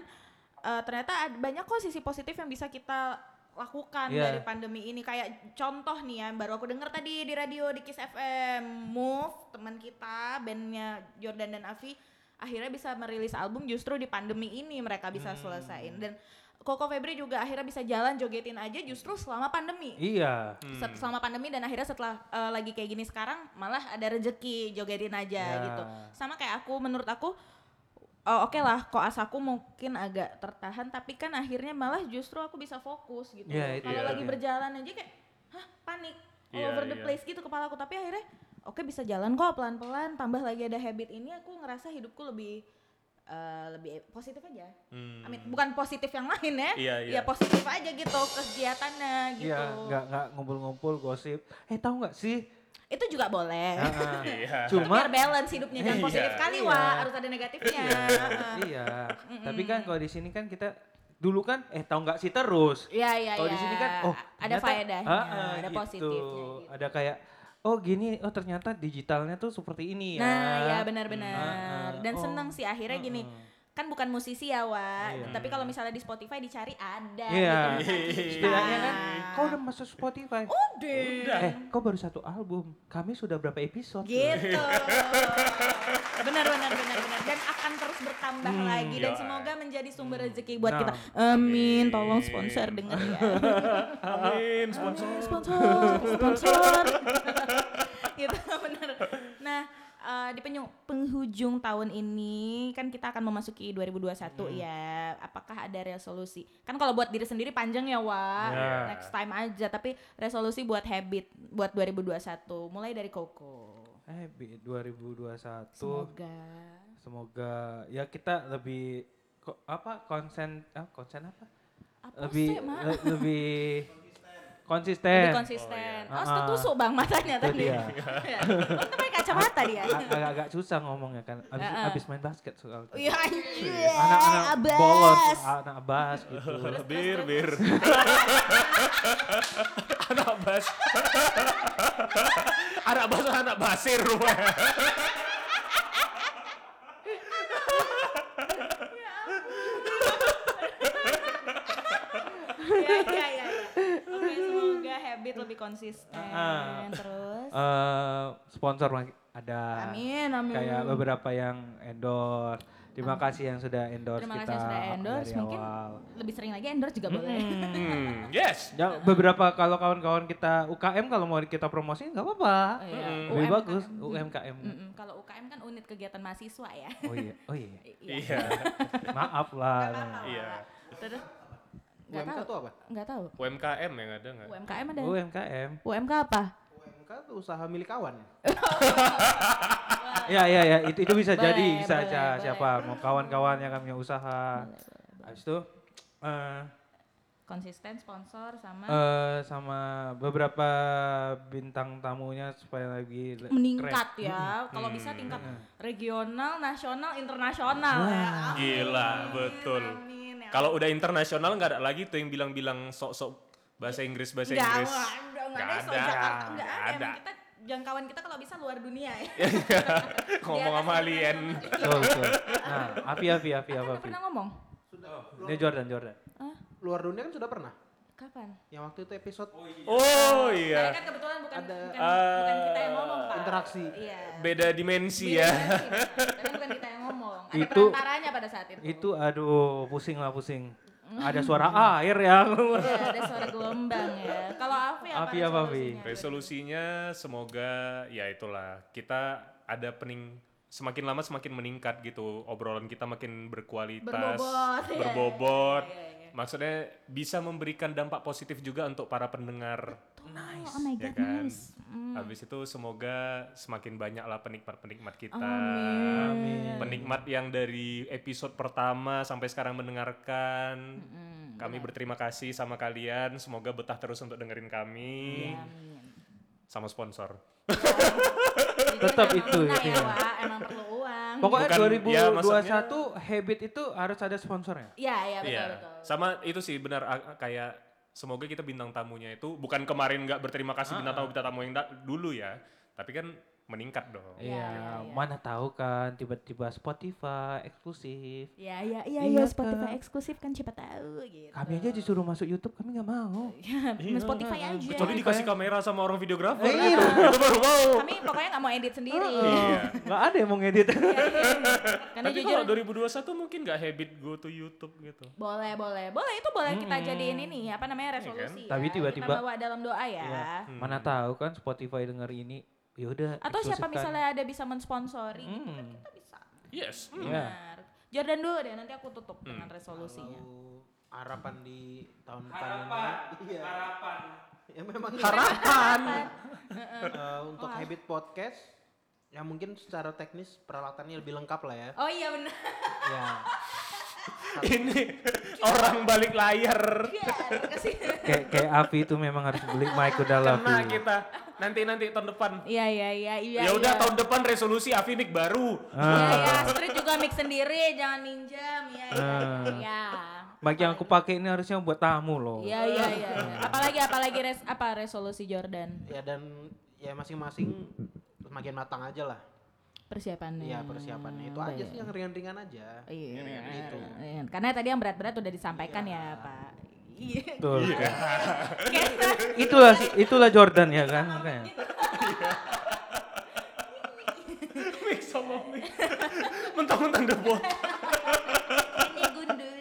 Speaker 2: eh, ternyata ada banyak kok sisi positif yang bisa kita lakukan
Speaker 3: Iya.
Speaker 2: dari pandemi ini. Kayak contoh nih ya, baru aku dengar tadi di radio di Kiss FM, Move, teman kita, bandnya Jordan dan Avi akhirnya bisa merilis album justru di pandemi ini mereka bisa
Speaker 1: Hmm.
Speaker 2: selesaiin dan Koko Febri juga akhirnya bisa jalan jogetin aja justru selama pandemi.
Speaker 3: Iya.
Speaker 1: hmm,
Speaker 2: Set- Selama pandemi dan akhirnya setelah eh, lagi kayak gini sekarang malah ada rezeki jogetin aja
Speaker 3: Ya.
Speaker 2: gitu. Sama kayak aku menurut aku oh, oke lah koas aku mungkin agak tertahan tapi kan akhirnya malah justru aku bisa fokus gitu.
Speaker 3: Iya, itu
Speaker 2: Kalau
Speaker 1: dia.
Speaker 2: lagi berjalan aja kayak hah panik all
Speaker 1: Iya,
Speaker 2: over the
Speaker 1: iya.
Speaker 2: place gitu kepala aku tapi akhirnya oke bisa jalan kok pelan-pelan tambah lagi ada habit ini aku ngerasa hidupku lebih eh, lebih positif aja.
Speaker 1: Hmm.
Speaker 2: Amin. Bukan positif yang lain ya.
Speaker 1: Iya, iya.
Speaker 2: Ya positif aja gitu kegiatannya gitu.
Speaker 3: Iya, nggak nggak ngumpul-ngumpul gosip. Eh tahu nggak sih?
Speaker 2: Itu juga boleh.
Speaker 3: Ah,
Speaker 1: Iya.
Speaker 3: Cuma
Speaker 2: Eh. Biar balance hidupnya jangan
Speaker 1: Iya,
Speaker 2: positif kali
Speaker 3: iya.
Speaker 2: Wak, harus ada negatifnya. Heeh.
Speaker 3: iya. Tapi kan kalau di sini kan kita dulu kan eh tahu nggak sih terus.
Speaker 2: Iya iya
Speaker 3: Kalau
Speaker 2: iya.
Speaker 3: di sini kan oh
Speaker 2: ada
Speaker 3: ternyata-
Speaker 2: faedahnya,
Speaker 3: ah, ah,
Speaker 2: ada
Speaker 3: gitu.
Speaker 2: positifnya. gitu.
Speaker 3: Ada kayak oh gini oh ternyata digitalnya tuh seperti ini ya.
Speaker 2: Nah, ya
Speaker 3: Ah,
Speaker 2: benar-benar.
Speaker 3: ah,
Speaker 2: Dan
Speaker 3: oh.
Speaker 2: senang sih akhirnya gini. Kan bukan musisi ya, Wak. Tapi kalau misalnya di Spotify dicari ada
Speaker 3: Iya.
Speaker 2: gitu. kita.
Speaker 3: Setidaknya kan kau udah masuk Spotify.
Speaker 2: Udah.
Speaker 3: Eh, kau baru satu album. Kami sudah berapa episode?
Speaker 2: gitu benar benar benar benar dan akan terus bertambah lagi dan
Speaker 1: iya.
Speaker 2: semoga menjadi sumber rezeki buat
Speaker 3: Nah.
Speaker 2: kita amin tolong sponsor denger ya
Speaker 1: Amin, sponsor.
Speaker 2: sponsor sponsor gitu benar nah eh, di penyu- penghujung tahun ini kan kita akan memasuki 2021 ya apakah ada resolusi kan kalau buat diri sendiri panjang ya Wak
Speaker 3: Ya.
Speaker 2: next time aja tapi resolusi buat habit buat 2021 mulai dari Koko
Speaker 3: Eh, bi- 2021.
Speaker 2: semoga
Speaker 3: Semoga ya kita lebih ko- apa konsen ah, konsen apa?
Speaker 2: Apa
Speaker 3: lebih
Speaker 2: sih, Mak?
Speaker 3: le- lebih
Speaker 2: lebih
Speaker 3: konsisten.
Speaker 2: konsisten.
Speaker 3: Oh,
Speaker 2: Oh,
Speaker 3: iya.
Speaker 2: setusuk bang matanya
Speaker 3: Itu
Speaker 2: tadi.
Speaker 3: dia.
Speaker 2: Iya. Untung pakai kacamata dia.
Speaker 3: A- Agak-agak susah ngomongnya kan. Abis,
Speaker 2: Heeh.
Speaker 3: abis main basket soalnya.
Speaker 2: Iya, anjir.
Speaker 3: Anak-anak
Speaker 2: Abas.
Speaker 3: bolos, anak abas gitu.
Speaker 1: bir, bir. anak bas. anak bas, anak basir. weh.
Speaker 2: Iya, iya, iya. iya. Oke, semoga habit lebih konsisten.
Speaker 3: Ah.
Speaker 2: Terus.
Speaker 3: Eh, sponsor lagi ada.
Speaker 2: Amin, amin.
Speaker 3: Kayak beberapa yang endorse. Terima kasih yang sudah endorse
Speaker 2: Terima
Speaker 3: kita.
Speaker 2: kasih yang sudah endorse.
Speaker 3: dari
Speaker 2: Mungkin
Speaker 3: awal.
Speaker 2: lebih sering lagi endorse juga boleh.
Speaker 1: Hmm, yes.
Speaker 3: Ya, beberapa kalau kawan-kawan kita UKM kalau mau kita promosiin nggak apa-apa.
Speaker 2: Oh, iya.
Speaker 3: Lebih
Speaker 2: UMKM.
Speaker 3: bagus UMKM.
Speaker 2: Mm-mm, Kalau UKM kan unit kegiatan mahasiswa ya.
Speaker 3: Oh iya, oh iya.
Speaker 2: Iya.
Speaker 1: Iya.
Speaker 3: Maaf lah.
Speaker 1: Iya.
Speaker 2: Terus nggak
Speaker 4: UMK
Speaker 2: tahu.
Speaker 4: tuh apa?
Speaker 2: Nggak tahu.
Speaker 1: UMKM yang ada
Speaker 3: Eh.
Speaker 1: nggak?
Speaker 2: UMKM ada.
Speaker 3: UMKM.
Speaker 2: UMK apa?
Speaker 4: UMK tuh usaha milik kawan.
Speaker 3: Ya ya ya itu itu bisa
Speaker 2: Boleh,
Speaker 3: jadi bisa
Speaker 2: boleh,
Speaker 3: aja
Speaker 2: boleh.
Speaker 3: siapa mau kawan-kawan yang punya usaha. Habis itu eh
Speaker 2: Konsisten sponsor sama
Speaker 3: eh, sama beberapa bintang tamunya supaya lagi le-
Speaker 2: meningkat
Speaker 1: Hmm.
Speaker 2: ya. Kalau bisa tingkat regional, nasional, internasional ya. Amin,
Speaker 1: Gila, betul.
Speaker 2: Amin, ya.
Speaker 1: Kalau udah internasional nggak ada lagi tuh yang bilang-bilang sok-sok bahasa Inggris bahasa
Speaker 2: Nggak,
Speaker 1: Inggris.
Speaker 2: nggak ada, nggak ada, so Jakarta, nggak ada. Emang kita jangkauan kita kalau bisa luar dunia ya.
Speaker 1: Ngomong sama alien.
Speaker 3: Betul, betul. Nah, Api Api Api
Speaker 2: Kan
Speaker 3: apa
Speaker 2: udah
Speaker 3: Api?
Speaker 2: pernah ngomong?
Speaker 3: Ini Jordan Jordan.
Speaker 2: Hah?
Speaker 4: Luar dunia kan sudah pernah.
Speaker 2: Kapan?
Speaker 4: Yang waktu itu episode
Speaker 1: Oh
Speaker 2: Saya
Speaker 1: iya. eh,
Speaker 2: kan kebetulan bukan
Speaker 4: Ada,
Speaker 2: bukan, bukan kita yang ngomong, Pak.
Speaker 4: interaksi.
Speaker 2: Iya.
Speaker 1: Beda dimensi
Speaker 2: Beda
Speaker 1: ya.
Speaker 2: versi, Pak. Tapi bukan kita yang ngomong. Ada
Speaker 3: Itu-
Speaker 2: perantaranya pada saat itu.
Speaker 3: Itu aduh pusing lah pusing. Ada suara air yang
Speaker 2: Ya, ada suara gelombang ya. Kalau Avi apa?
Speaker 3: Avi apa, Avi?
Speaker 2: resolusinya?
Speaker 1: Resolusinya semoga ya itulah kita ada pening semakin lama semakin meningkat gitu obrolan kita makin berkualitas,
Speaker 2: Berbobot, ya.
Speaker 1: berbobot.
Speaker 2: Iya, iya, iya.
Speaker 1: Maksudnya bisa memberikan dampak positif juga untuk para pendengar.
Speaker 2: Nice. Oh my
Speaker 1: ya
Speaker 2: god,
Speaker 1: kan?
Speaker 2: nice. Mm.
Speaker 1: Habis itu semoga semakin banyaklah penikmat-penikmat kita.
Speaker 2: Amin.
Speaker 1: Penikmat yang dari episode pertama sampai sekarang mendengarkan.
Speaker 2: Mm,
Speaker 1: Kami berterima kasih sama kalian. Semoga betah terus untuk dengerin kami.
Speaker 2: Amin. Iya.
Speaker 1: Sama sponsor.
Speaker 2: Jadi
Speaker 3: Tetap
Speaker 2: emang
Speaker 3: itu
Speaker 2: kita ya,
Speaker 3: intinya.
Speaker 2: Wak, emang perlu uang.
Speaker 3: Pokoknya
Speaker 1: Bukan- ya, maksudnya-
Speaker 3: 2021 habit itu harus ada sponsornya.
Speaker 2: Iya, iya betul
Speaker 1: Iya.
Speaker 2: betul.
Speaker 1: Sama itu sih benar a- kayak semoga kita bintang tamunya itu bukan kemarin nggak berterima
Speaker 2: Ah,
Speaker 1: kasih bintang tamu bintang tamu yang da- dulu ya. Tapi kan meningkat dong.
Speaker 2: Iya, iya,
Speaker 3: Iya,
Speaker 2: iya.
Speaker 3: mana tahu kan tiba-tiba Spotify eksklusif.
Speaker 2: Iya, iya, iya,
Speaker 3: Iya,
Speaker 2: iya,
Speaker 3: Kak.
Speaker 2: Spotify eksklusif kan siapa tahu gitu.
Speaker 3: Kami aja disuruh masuk YouTube, kami nggak mau.
Speaker 2: Iya, Spotify aja.
Speaker 1: Kecuali dikasih kamera sama orang videografer. Itu,
Speaker 3: Iya.
Speaker 1: itu baru mau.
Speaker 2: Kami pokoknya nggak mau edit sendiri. iya.
Speaker 1: Iya.
Speaker 3: Nggak ada yang mau ngedit.
Speaker 2: Hmm. Karena
Speaker 1: Tapi
Speaker 2: jujur
Speaker 1: kalau 2021 mungkin nggak habit go to YouTube gitu.
Speaker 2: boleh, boleh. Boleh itu boleh kita jadiin ini apa namanya resolusi.
Speaker 3: Tapi
Speaker 2: ya.
Speaker 3: tiba-tiba-
Speaker 2: kita bawa dalam doa ya.
Speaker 3: Mana tahu kan Spotify denger ini, yaudah.
Speaker 2: Atau siapa
Speaker 3: eksklusifkan.
Speaker 2: misalnya ada bisa mensponsori gitu,
Speaker 3: Hmm.
Speaker 2: kan kita bisa.
Speaker 1: Yes. Hmm.
Speaker 3: Iya.
Speaker 2: Benar. Jordan dulu deh, nanti aku tutup dengan resolusinya.
Speaker 4: Lalu harapan di tahun depan ini. Iya.
Speaker 3: Harapan.
Speaker 4: Ya memang harapan. Eh, untuk
Speaker 2: Oh, har-
Speaker 4: habit podcast ya mungkin secara teknis peralatannya lebih lengkap lah ya.
Speaker 2: Oh iya benar.
Speaker 4: ya.
Speaker 1: Ini orang balik layar.
Speaker 2: Iya, kasih.
Speaker 3: Kayak kayak Avi itu memang harus beli mic udah lah.
Speaker 1: Kena gitu.
Speaker 3: Fi.
Speaker 1: Nah, kita. Nanti nanti tahun depan.
Speaker 2: Iya, iya, iya, iya.
Speaker 1: Ya udah
Speaker 2: iya.
Speaker 1: tahun depan resolusi Avi mic baru.
Speaker 2: Iya, iya, Astrid juga mix sendiri, jangan ninjam. Iya, iya,
Speaker 3: Ah.
Speaker 2: iya.
Speaker 3: Mic yang aku pakai ini harusnya buat tamu loh.
Speaker 2: Iya, iya, iya. iya. Apalagi, apalagi res, apa resolusi Jordan?
Speaker 4: Ya dan ya masing-masing semakin matang aja lah.
Speaker 2: Persiapannya.
Speaker 4: Iya persiapannya itu aja
Speaker 2: Baik.
Speaker 4: sih yang ringan-ringan aja.
Speaker 2: Iya, iya. Karena tadi yang berat-berat udah disampaikan ya, Pak. Iya.
Speaker 3: Betul.
Speaker 2: Kayak-
Speaker 3: Itulah itulah Jordan ya
Speaker 2: Iya.
Speaker 3: kan makanya.
Speaker 1: Mix sama mic. Mentang-mentang The Boy.
Speaker 2: Ini gundul.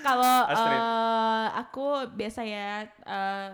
Speaker 2: Kalau
Speaker 1: Astrid.
Speaker 2: eh, aku biasa ya eh,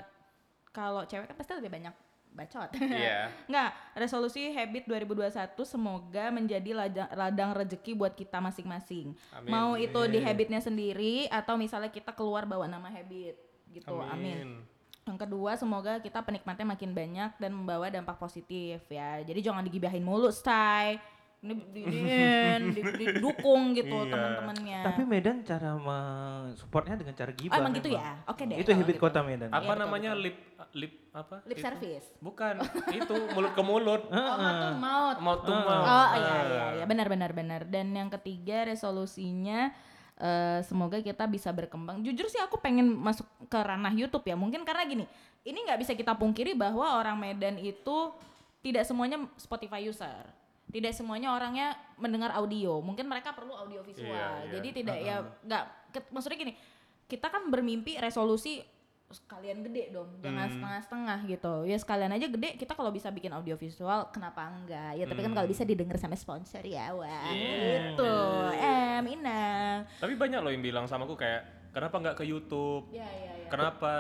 Speaker 2: kalau cewek kan pasti lebih banyak bacot.
Speaker 1: Iya.
Speaker 2: Nggak, resolusi habit 2021 semoga menjadi ladang, ladang rezeki buat kita masing-masing.
Speaker 1: Amin.
Speaker 2: Mau itu di habitnya sendiri atau misalnya kita keluar bawa nama habit gitu. Amin. Yang kedua, semoga kita penikmatnya makin banyak dan membawa dampak positif ya. Jadi jangan digibahin mulu, Stai. Ini di- di- di- didukung
Speaker 1: Iya.
Speaker 2: gitu teman-temannya.
Speaker 3: Tapi Medan cara mensupportnya dengan cara gibah.
Speaker 2: oh, emang gitu
Speaker 3: memang.
Speaker 2: ya? Oke deh.
Speaker 3: Itu
Speaker 2: kalau
Speaker 3: habit
Speaker 2: gitu.
Speaker 3: kota Medan. Oh,
Speaker 1: Apa
Speaker 2: betul,
Speaker 1: namanya
Speaker 2: betul.
Speaker 1: lip uh, lip apa?
Speaker 2: Lip
Speaker 1: Itu.
Speaker 2: service.
Speaker 1: Bukan, itu mulut ke mulut.
Speaker 2: Oh, maut, maut.
Speaker 1: Mau Nah, tuh mau.
Speaker 2: Oh iya iya iya benar benar benar. Dan yang ketiga resolusinya eh, semoga kita bisa berkembang. Jujur sih aku pengen masuk ke ranah YouTube ya. Mungkin karena gini, ini nggak bisa kita pungkiri bahwa orang Medan itu tidak semuanya Spotify user. Tidak semuanya orangnya mendengar audio. Mungkin mereka perlu audio visual.
Speaker 1: Iya, iya.
Speaker 2: Jadi tidak ya nggak ke- maksudnya gini. Kita kan bermimpi resolusi sekalian gede dong, jangan
Speaker 1: Hmm.
Speaker 2: setengah-setengah gitu. Ya sekalian aja gede, kita kalau bisa bikin audio visual kenapa enggak? Ya tapi kan kalau bisa didengar sama sponsor ya, wah.
Speaker 3: Iya.
Speaker 2: Gitu. Em, Inang.
Speaker 1: Tapi banyak loh yang bilang sama aku kayak kenapa nggak ke YouTube?
Speaker 2: Ya, ya, ya.
Speaker 1: Kenapa?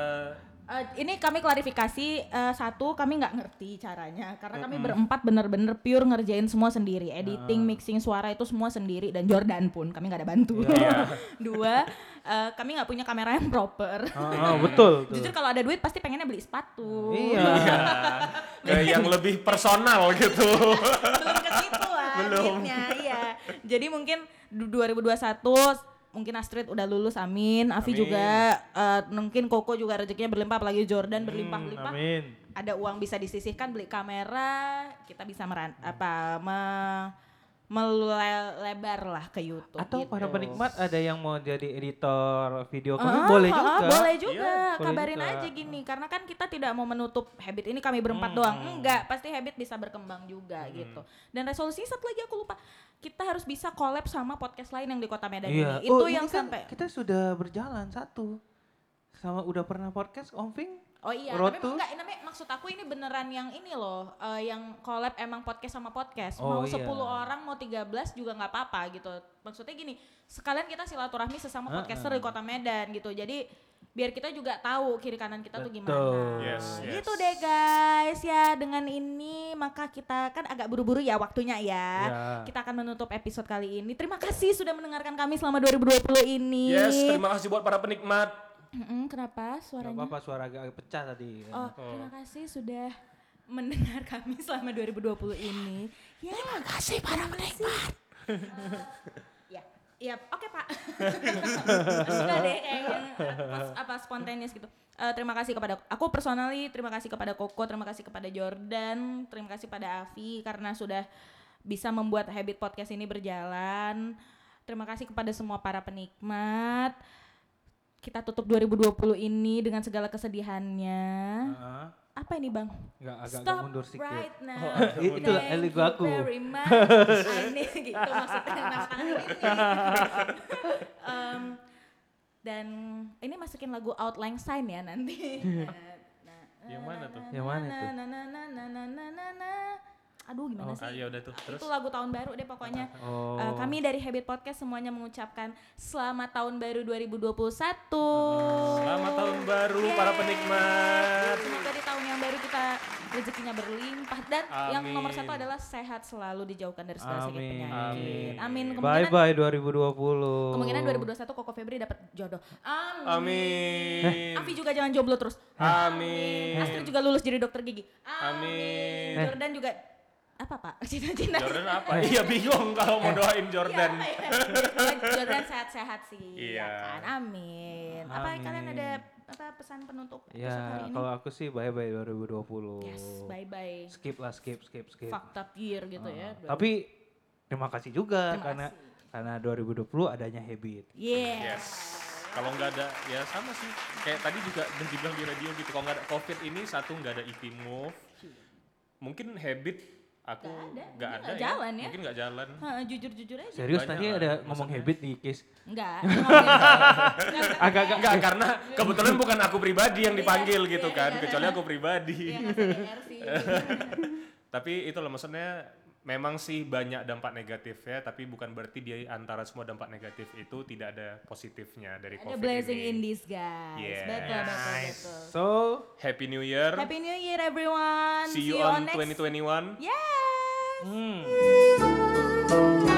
Speaker 2: Eh, ini kami klarifikasi eh, satu kami nggak ngerti caranya karena kami berempat bener-bener pure ngerjain semua sendiri
Speaker 3: Ah.
Speaker 2: editing mixing suara itu semua sendiri dan Jordan pun kami nggak ada bantu
Speaker 3: Iya,
Speaker 2: dua eh, kami nggak punya kamera yang proper
Speaker 3: Ah, ah, betul tuh.
Speaker 2: jujur kalau ada duit pasti pengennya beli sepatu
Speaker 3: Iya.
Speaker 1: Ke
Speaker 2: Iya.
Speaker 1: yang lebih personal gitu.
Speaker 2: belum ke situ lah duitnya, iya jadi mungkin du- 2021 mungkin Astrid udah lulus amin Avi
Speaker 1: Amin.
Speaker 2: juga eh, mungkin Koko juga rezekinya berlimpah apalagi Jordan berlimpah-limpah
Speaker 3: Hmm, Amin.
Speaker 2: ada uang bisa disisihkan beli kamera kita bisa meran apa me- melebar lah ke YouTube
Speaker 3: Atau
Speaker 2: gitu.
Speaker 3: para penikmat ada yang mau jadi editor video kami
Speaker 2: Ah,
Speaker 3: boleh
Speaker 2: ah,
Speaker 3: juga.
Speaker 2: boleh juga.
Speaker 3: Iya, boleh
Speaker 2: Kabarin
Speaker 3: juga.
Speaker 2: aja gini, karena kan kita tidak mau menutup habit ini kami berempat
Speaker 3: Hmm,
Speaker 2: doang. Enggak, pasti habit bisa berkembang juga gitu. Dan resolusinya satu lagi aku lupa. Kita harus bisa collab sama podcast lain yang di Kota Medan
Speaker 3: Iya.
Speaker 2: ini. Itu
Speaker 3: Oh, ini
Speaker 2: yang
Speaker 3: kan
Speaker 2: sampai
Speaker 3: kita sudah berjalan satu. Sama udah pernah podcast Om Fing
Speaker 2: Oh iya,
Speaker 3: Road
Speaker 2: tapi
Speaker 3: to-
Speaker 2: enggak, namanya maksud aku ini beneran yang ini loh, eh, yang collab emang podcast sama podcast. mau
Speaker 3: Oh iya.
Speaker 2: 10 orang, mau 13 juga nggak apa-apa gitu. Maksudnya gini, sekalian kita silaturahmi sesama
Speaker 3: Heeh.
Speaker 2: podcaster di kota Medan gitu. Jadi biar kita juga tahu kiri kanan kita tuh gimana.
Speaker 3: Betul.
Speaker 1: Yes, yes.
Speaker 2: Gitu deh guys. Ya, dengan ini maka kita kan agak buru-buru ya waktunya ya.
Speaker 3: Ya.
Speaker 2: Kita akan menutup episode kali ini. Terima kasih sudah mendengarkan kami selama 2020 ini.
Speaker 1: Yes, terima kasih buat para penikmat.
Speaker 2: Mm-mm, kenapa
Speaker 3: Gak
Speaker 2: suaranya?
Speaker 3: apa-apa suara agak agak pecah tadi.
Speaker 2: Oh, terima kasih sudah mendengar kami selama 2020 ini. Ya, terima kasih para penikmat. ya, ya, oke Pak. Enggak deh kayaknya apa, apa spontanis gitu. Eh, terima kasih kepada aku personally, terima kasih kepada Koko, terima kasih kepada Jordan, terima kasih pada Avi karena sudah bisa membuat habit podcast ini berjalan. Terima kasih kepada semua para penikmat. Kita tutup 2020 ini dengan segala kesedihannya.
Speaker 3: Heeh.
Speaker 2: Apa ini, Bang?
Speaker 3: Nggak, agak agak
Speaker 2: Stop
Speaker 3: mundur sedikit.
Speaker 2: right Eh, now.
Speaker 3: mundur. Itulah
Speaker 2: Thank
Speaker 3: eligo
Speaker 2: you
Speaker 3: aku.
Speaker 2: very much. Ini gitu maksudnya mas Angga ini. Em, dan ini masukin lagu Outline Sign ya nanti. Nah,
Speaker 1: Yang mana tuh?
Speaker 3: Yang mana itu?
Speaker 2: na, na, na, na, na, na, na, na. Aduh gimana
Speaker 3: Oh,
Speaker 2: sih?
Speaker 1: Ah, ya udah tuh. Terus.
Speaker 2: Itu lagu tahun baru deh pokoknya.
Speaker 3: Oh.
Speaker 2: Eh, kami dari Habit Podcast semuanya mengucapkan selamat tahun baru 2021.
Speaker 1: Selamat tahun baru para
Speaker 2: Yeay.
Speaker 1: penikmat.
Speaker 2: Semoga di tahun yang baru kita rezekinya berlimpah dan yang nomor
Speaker 1: Amin.
Speaker 2: satu adalah sehat selalu dijauhkan dari segala sakit
Speaker 3: Amin.
Speaker 2: penyakit. Amin.
Speaker 3: Bye
Speaker 2: Kemungkinan
Speaker 3: bye 2020.
Speaker 2: kemungkinan 2021 Koko Febri dapat jodoh. Amin.
Speaker 1: Amin. Eh.
Speaker 2: Afi juga jangan jomblo terus.
Speaker 1: Amin.
Speaker 2: Astrid juga lulus jadi dokter gigi.
Speaker 1: Amin. Eh.
Speaker 2: Amin. Jordan juga apa Pak? Cita-cita.
Speaker 1: Jordan apa? Iya bingung kalau mau doain Jordan.
Speaker 2: Eh. Iya, iya. Jordan sehat-sehat sih.
Speaker 1: Iya.
Speaker 2: Iya. kan? Amin. Apa
Speaker 3: Amin.
Speaker 2: kalian ada apa pesan penutup episode hari
Speaker 3: Ya,
Speaker 2: ini?
Speaker 3: kalau aku sih bye bye 2020.
Speaker 2: Yes, bye-bye.
Speaker 3: Skip Ah. lah, skip, skip, skip.
Speaker 2: Fucked up year gitu ya.
Speaker 3: Tapi terima kasih juga
Speaker 2: Terima
Speaker 3: karena karena 2020 adanya habit.
Speaker 2: Yeah.
Speaker 1: Yes. Kalau nggak ada, ya sama sih. Kayak tadi juga udah dibilang di radio gitu. Kalau nggak ada COVID ini, satu nggak ada EP move. Mungkin habit aku
Speaker 2: Nggak
Speaker 1: nggak ada,
Speaker 2: ada, mungkin nggak jalan ya.
Speaker 1: Mungkin nggak jalan.
Speaker 2: Heeh, jujur-jujur aja.
Speaker 3: Serius
Speaker 1: Banyak
Speaker 3: tadi
Speaker 1: lah,
Speaker 3: ada ngomong habit di case.
Speaker 2: Enggak. Enggak.
Speaker 3: Agak-agak
Speaker 1: Enggak, karena kebetulan bukan aku pribadi yang dipanggil
Speaker 2: Iya,
Speaker 1: gitu
Speaker 2: iya,
Speaker 1: kan.
Speaker 2: iya, iya.
Speaker 1: Kecuali aku pribadi.
Speaker 2: Iya, nggak usah GR sih.
Speaker 1: Tapi itulah maksudnya memang sih banyak dampak negatifnya tapi bukan berarti di antara semua dampak negatif itu tidak ada positifnya dari
Speaker 2: Ada
Speaker 1: Covid
Speaker 2: blessing in
Speaker 1: ini.
Speaker 2: disguise.
Speaker 1: Yes.
Speaker 2: Betul, betul, betul.
Speaker 3: So,
Speaker 1: Happy New Year.
Speaker 2: Happy New Year everyone.
Speaker 1: See you on
Speaker 2: next.
Speaker 1: 2021.
Speaker 2: Yes.
Speaker 3: hmm.
Speaker 2: Bye.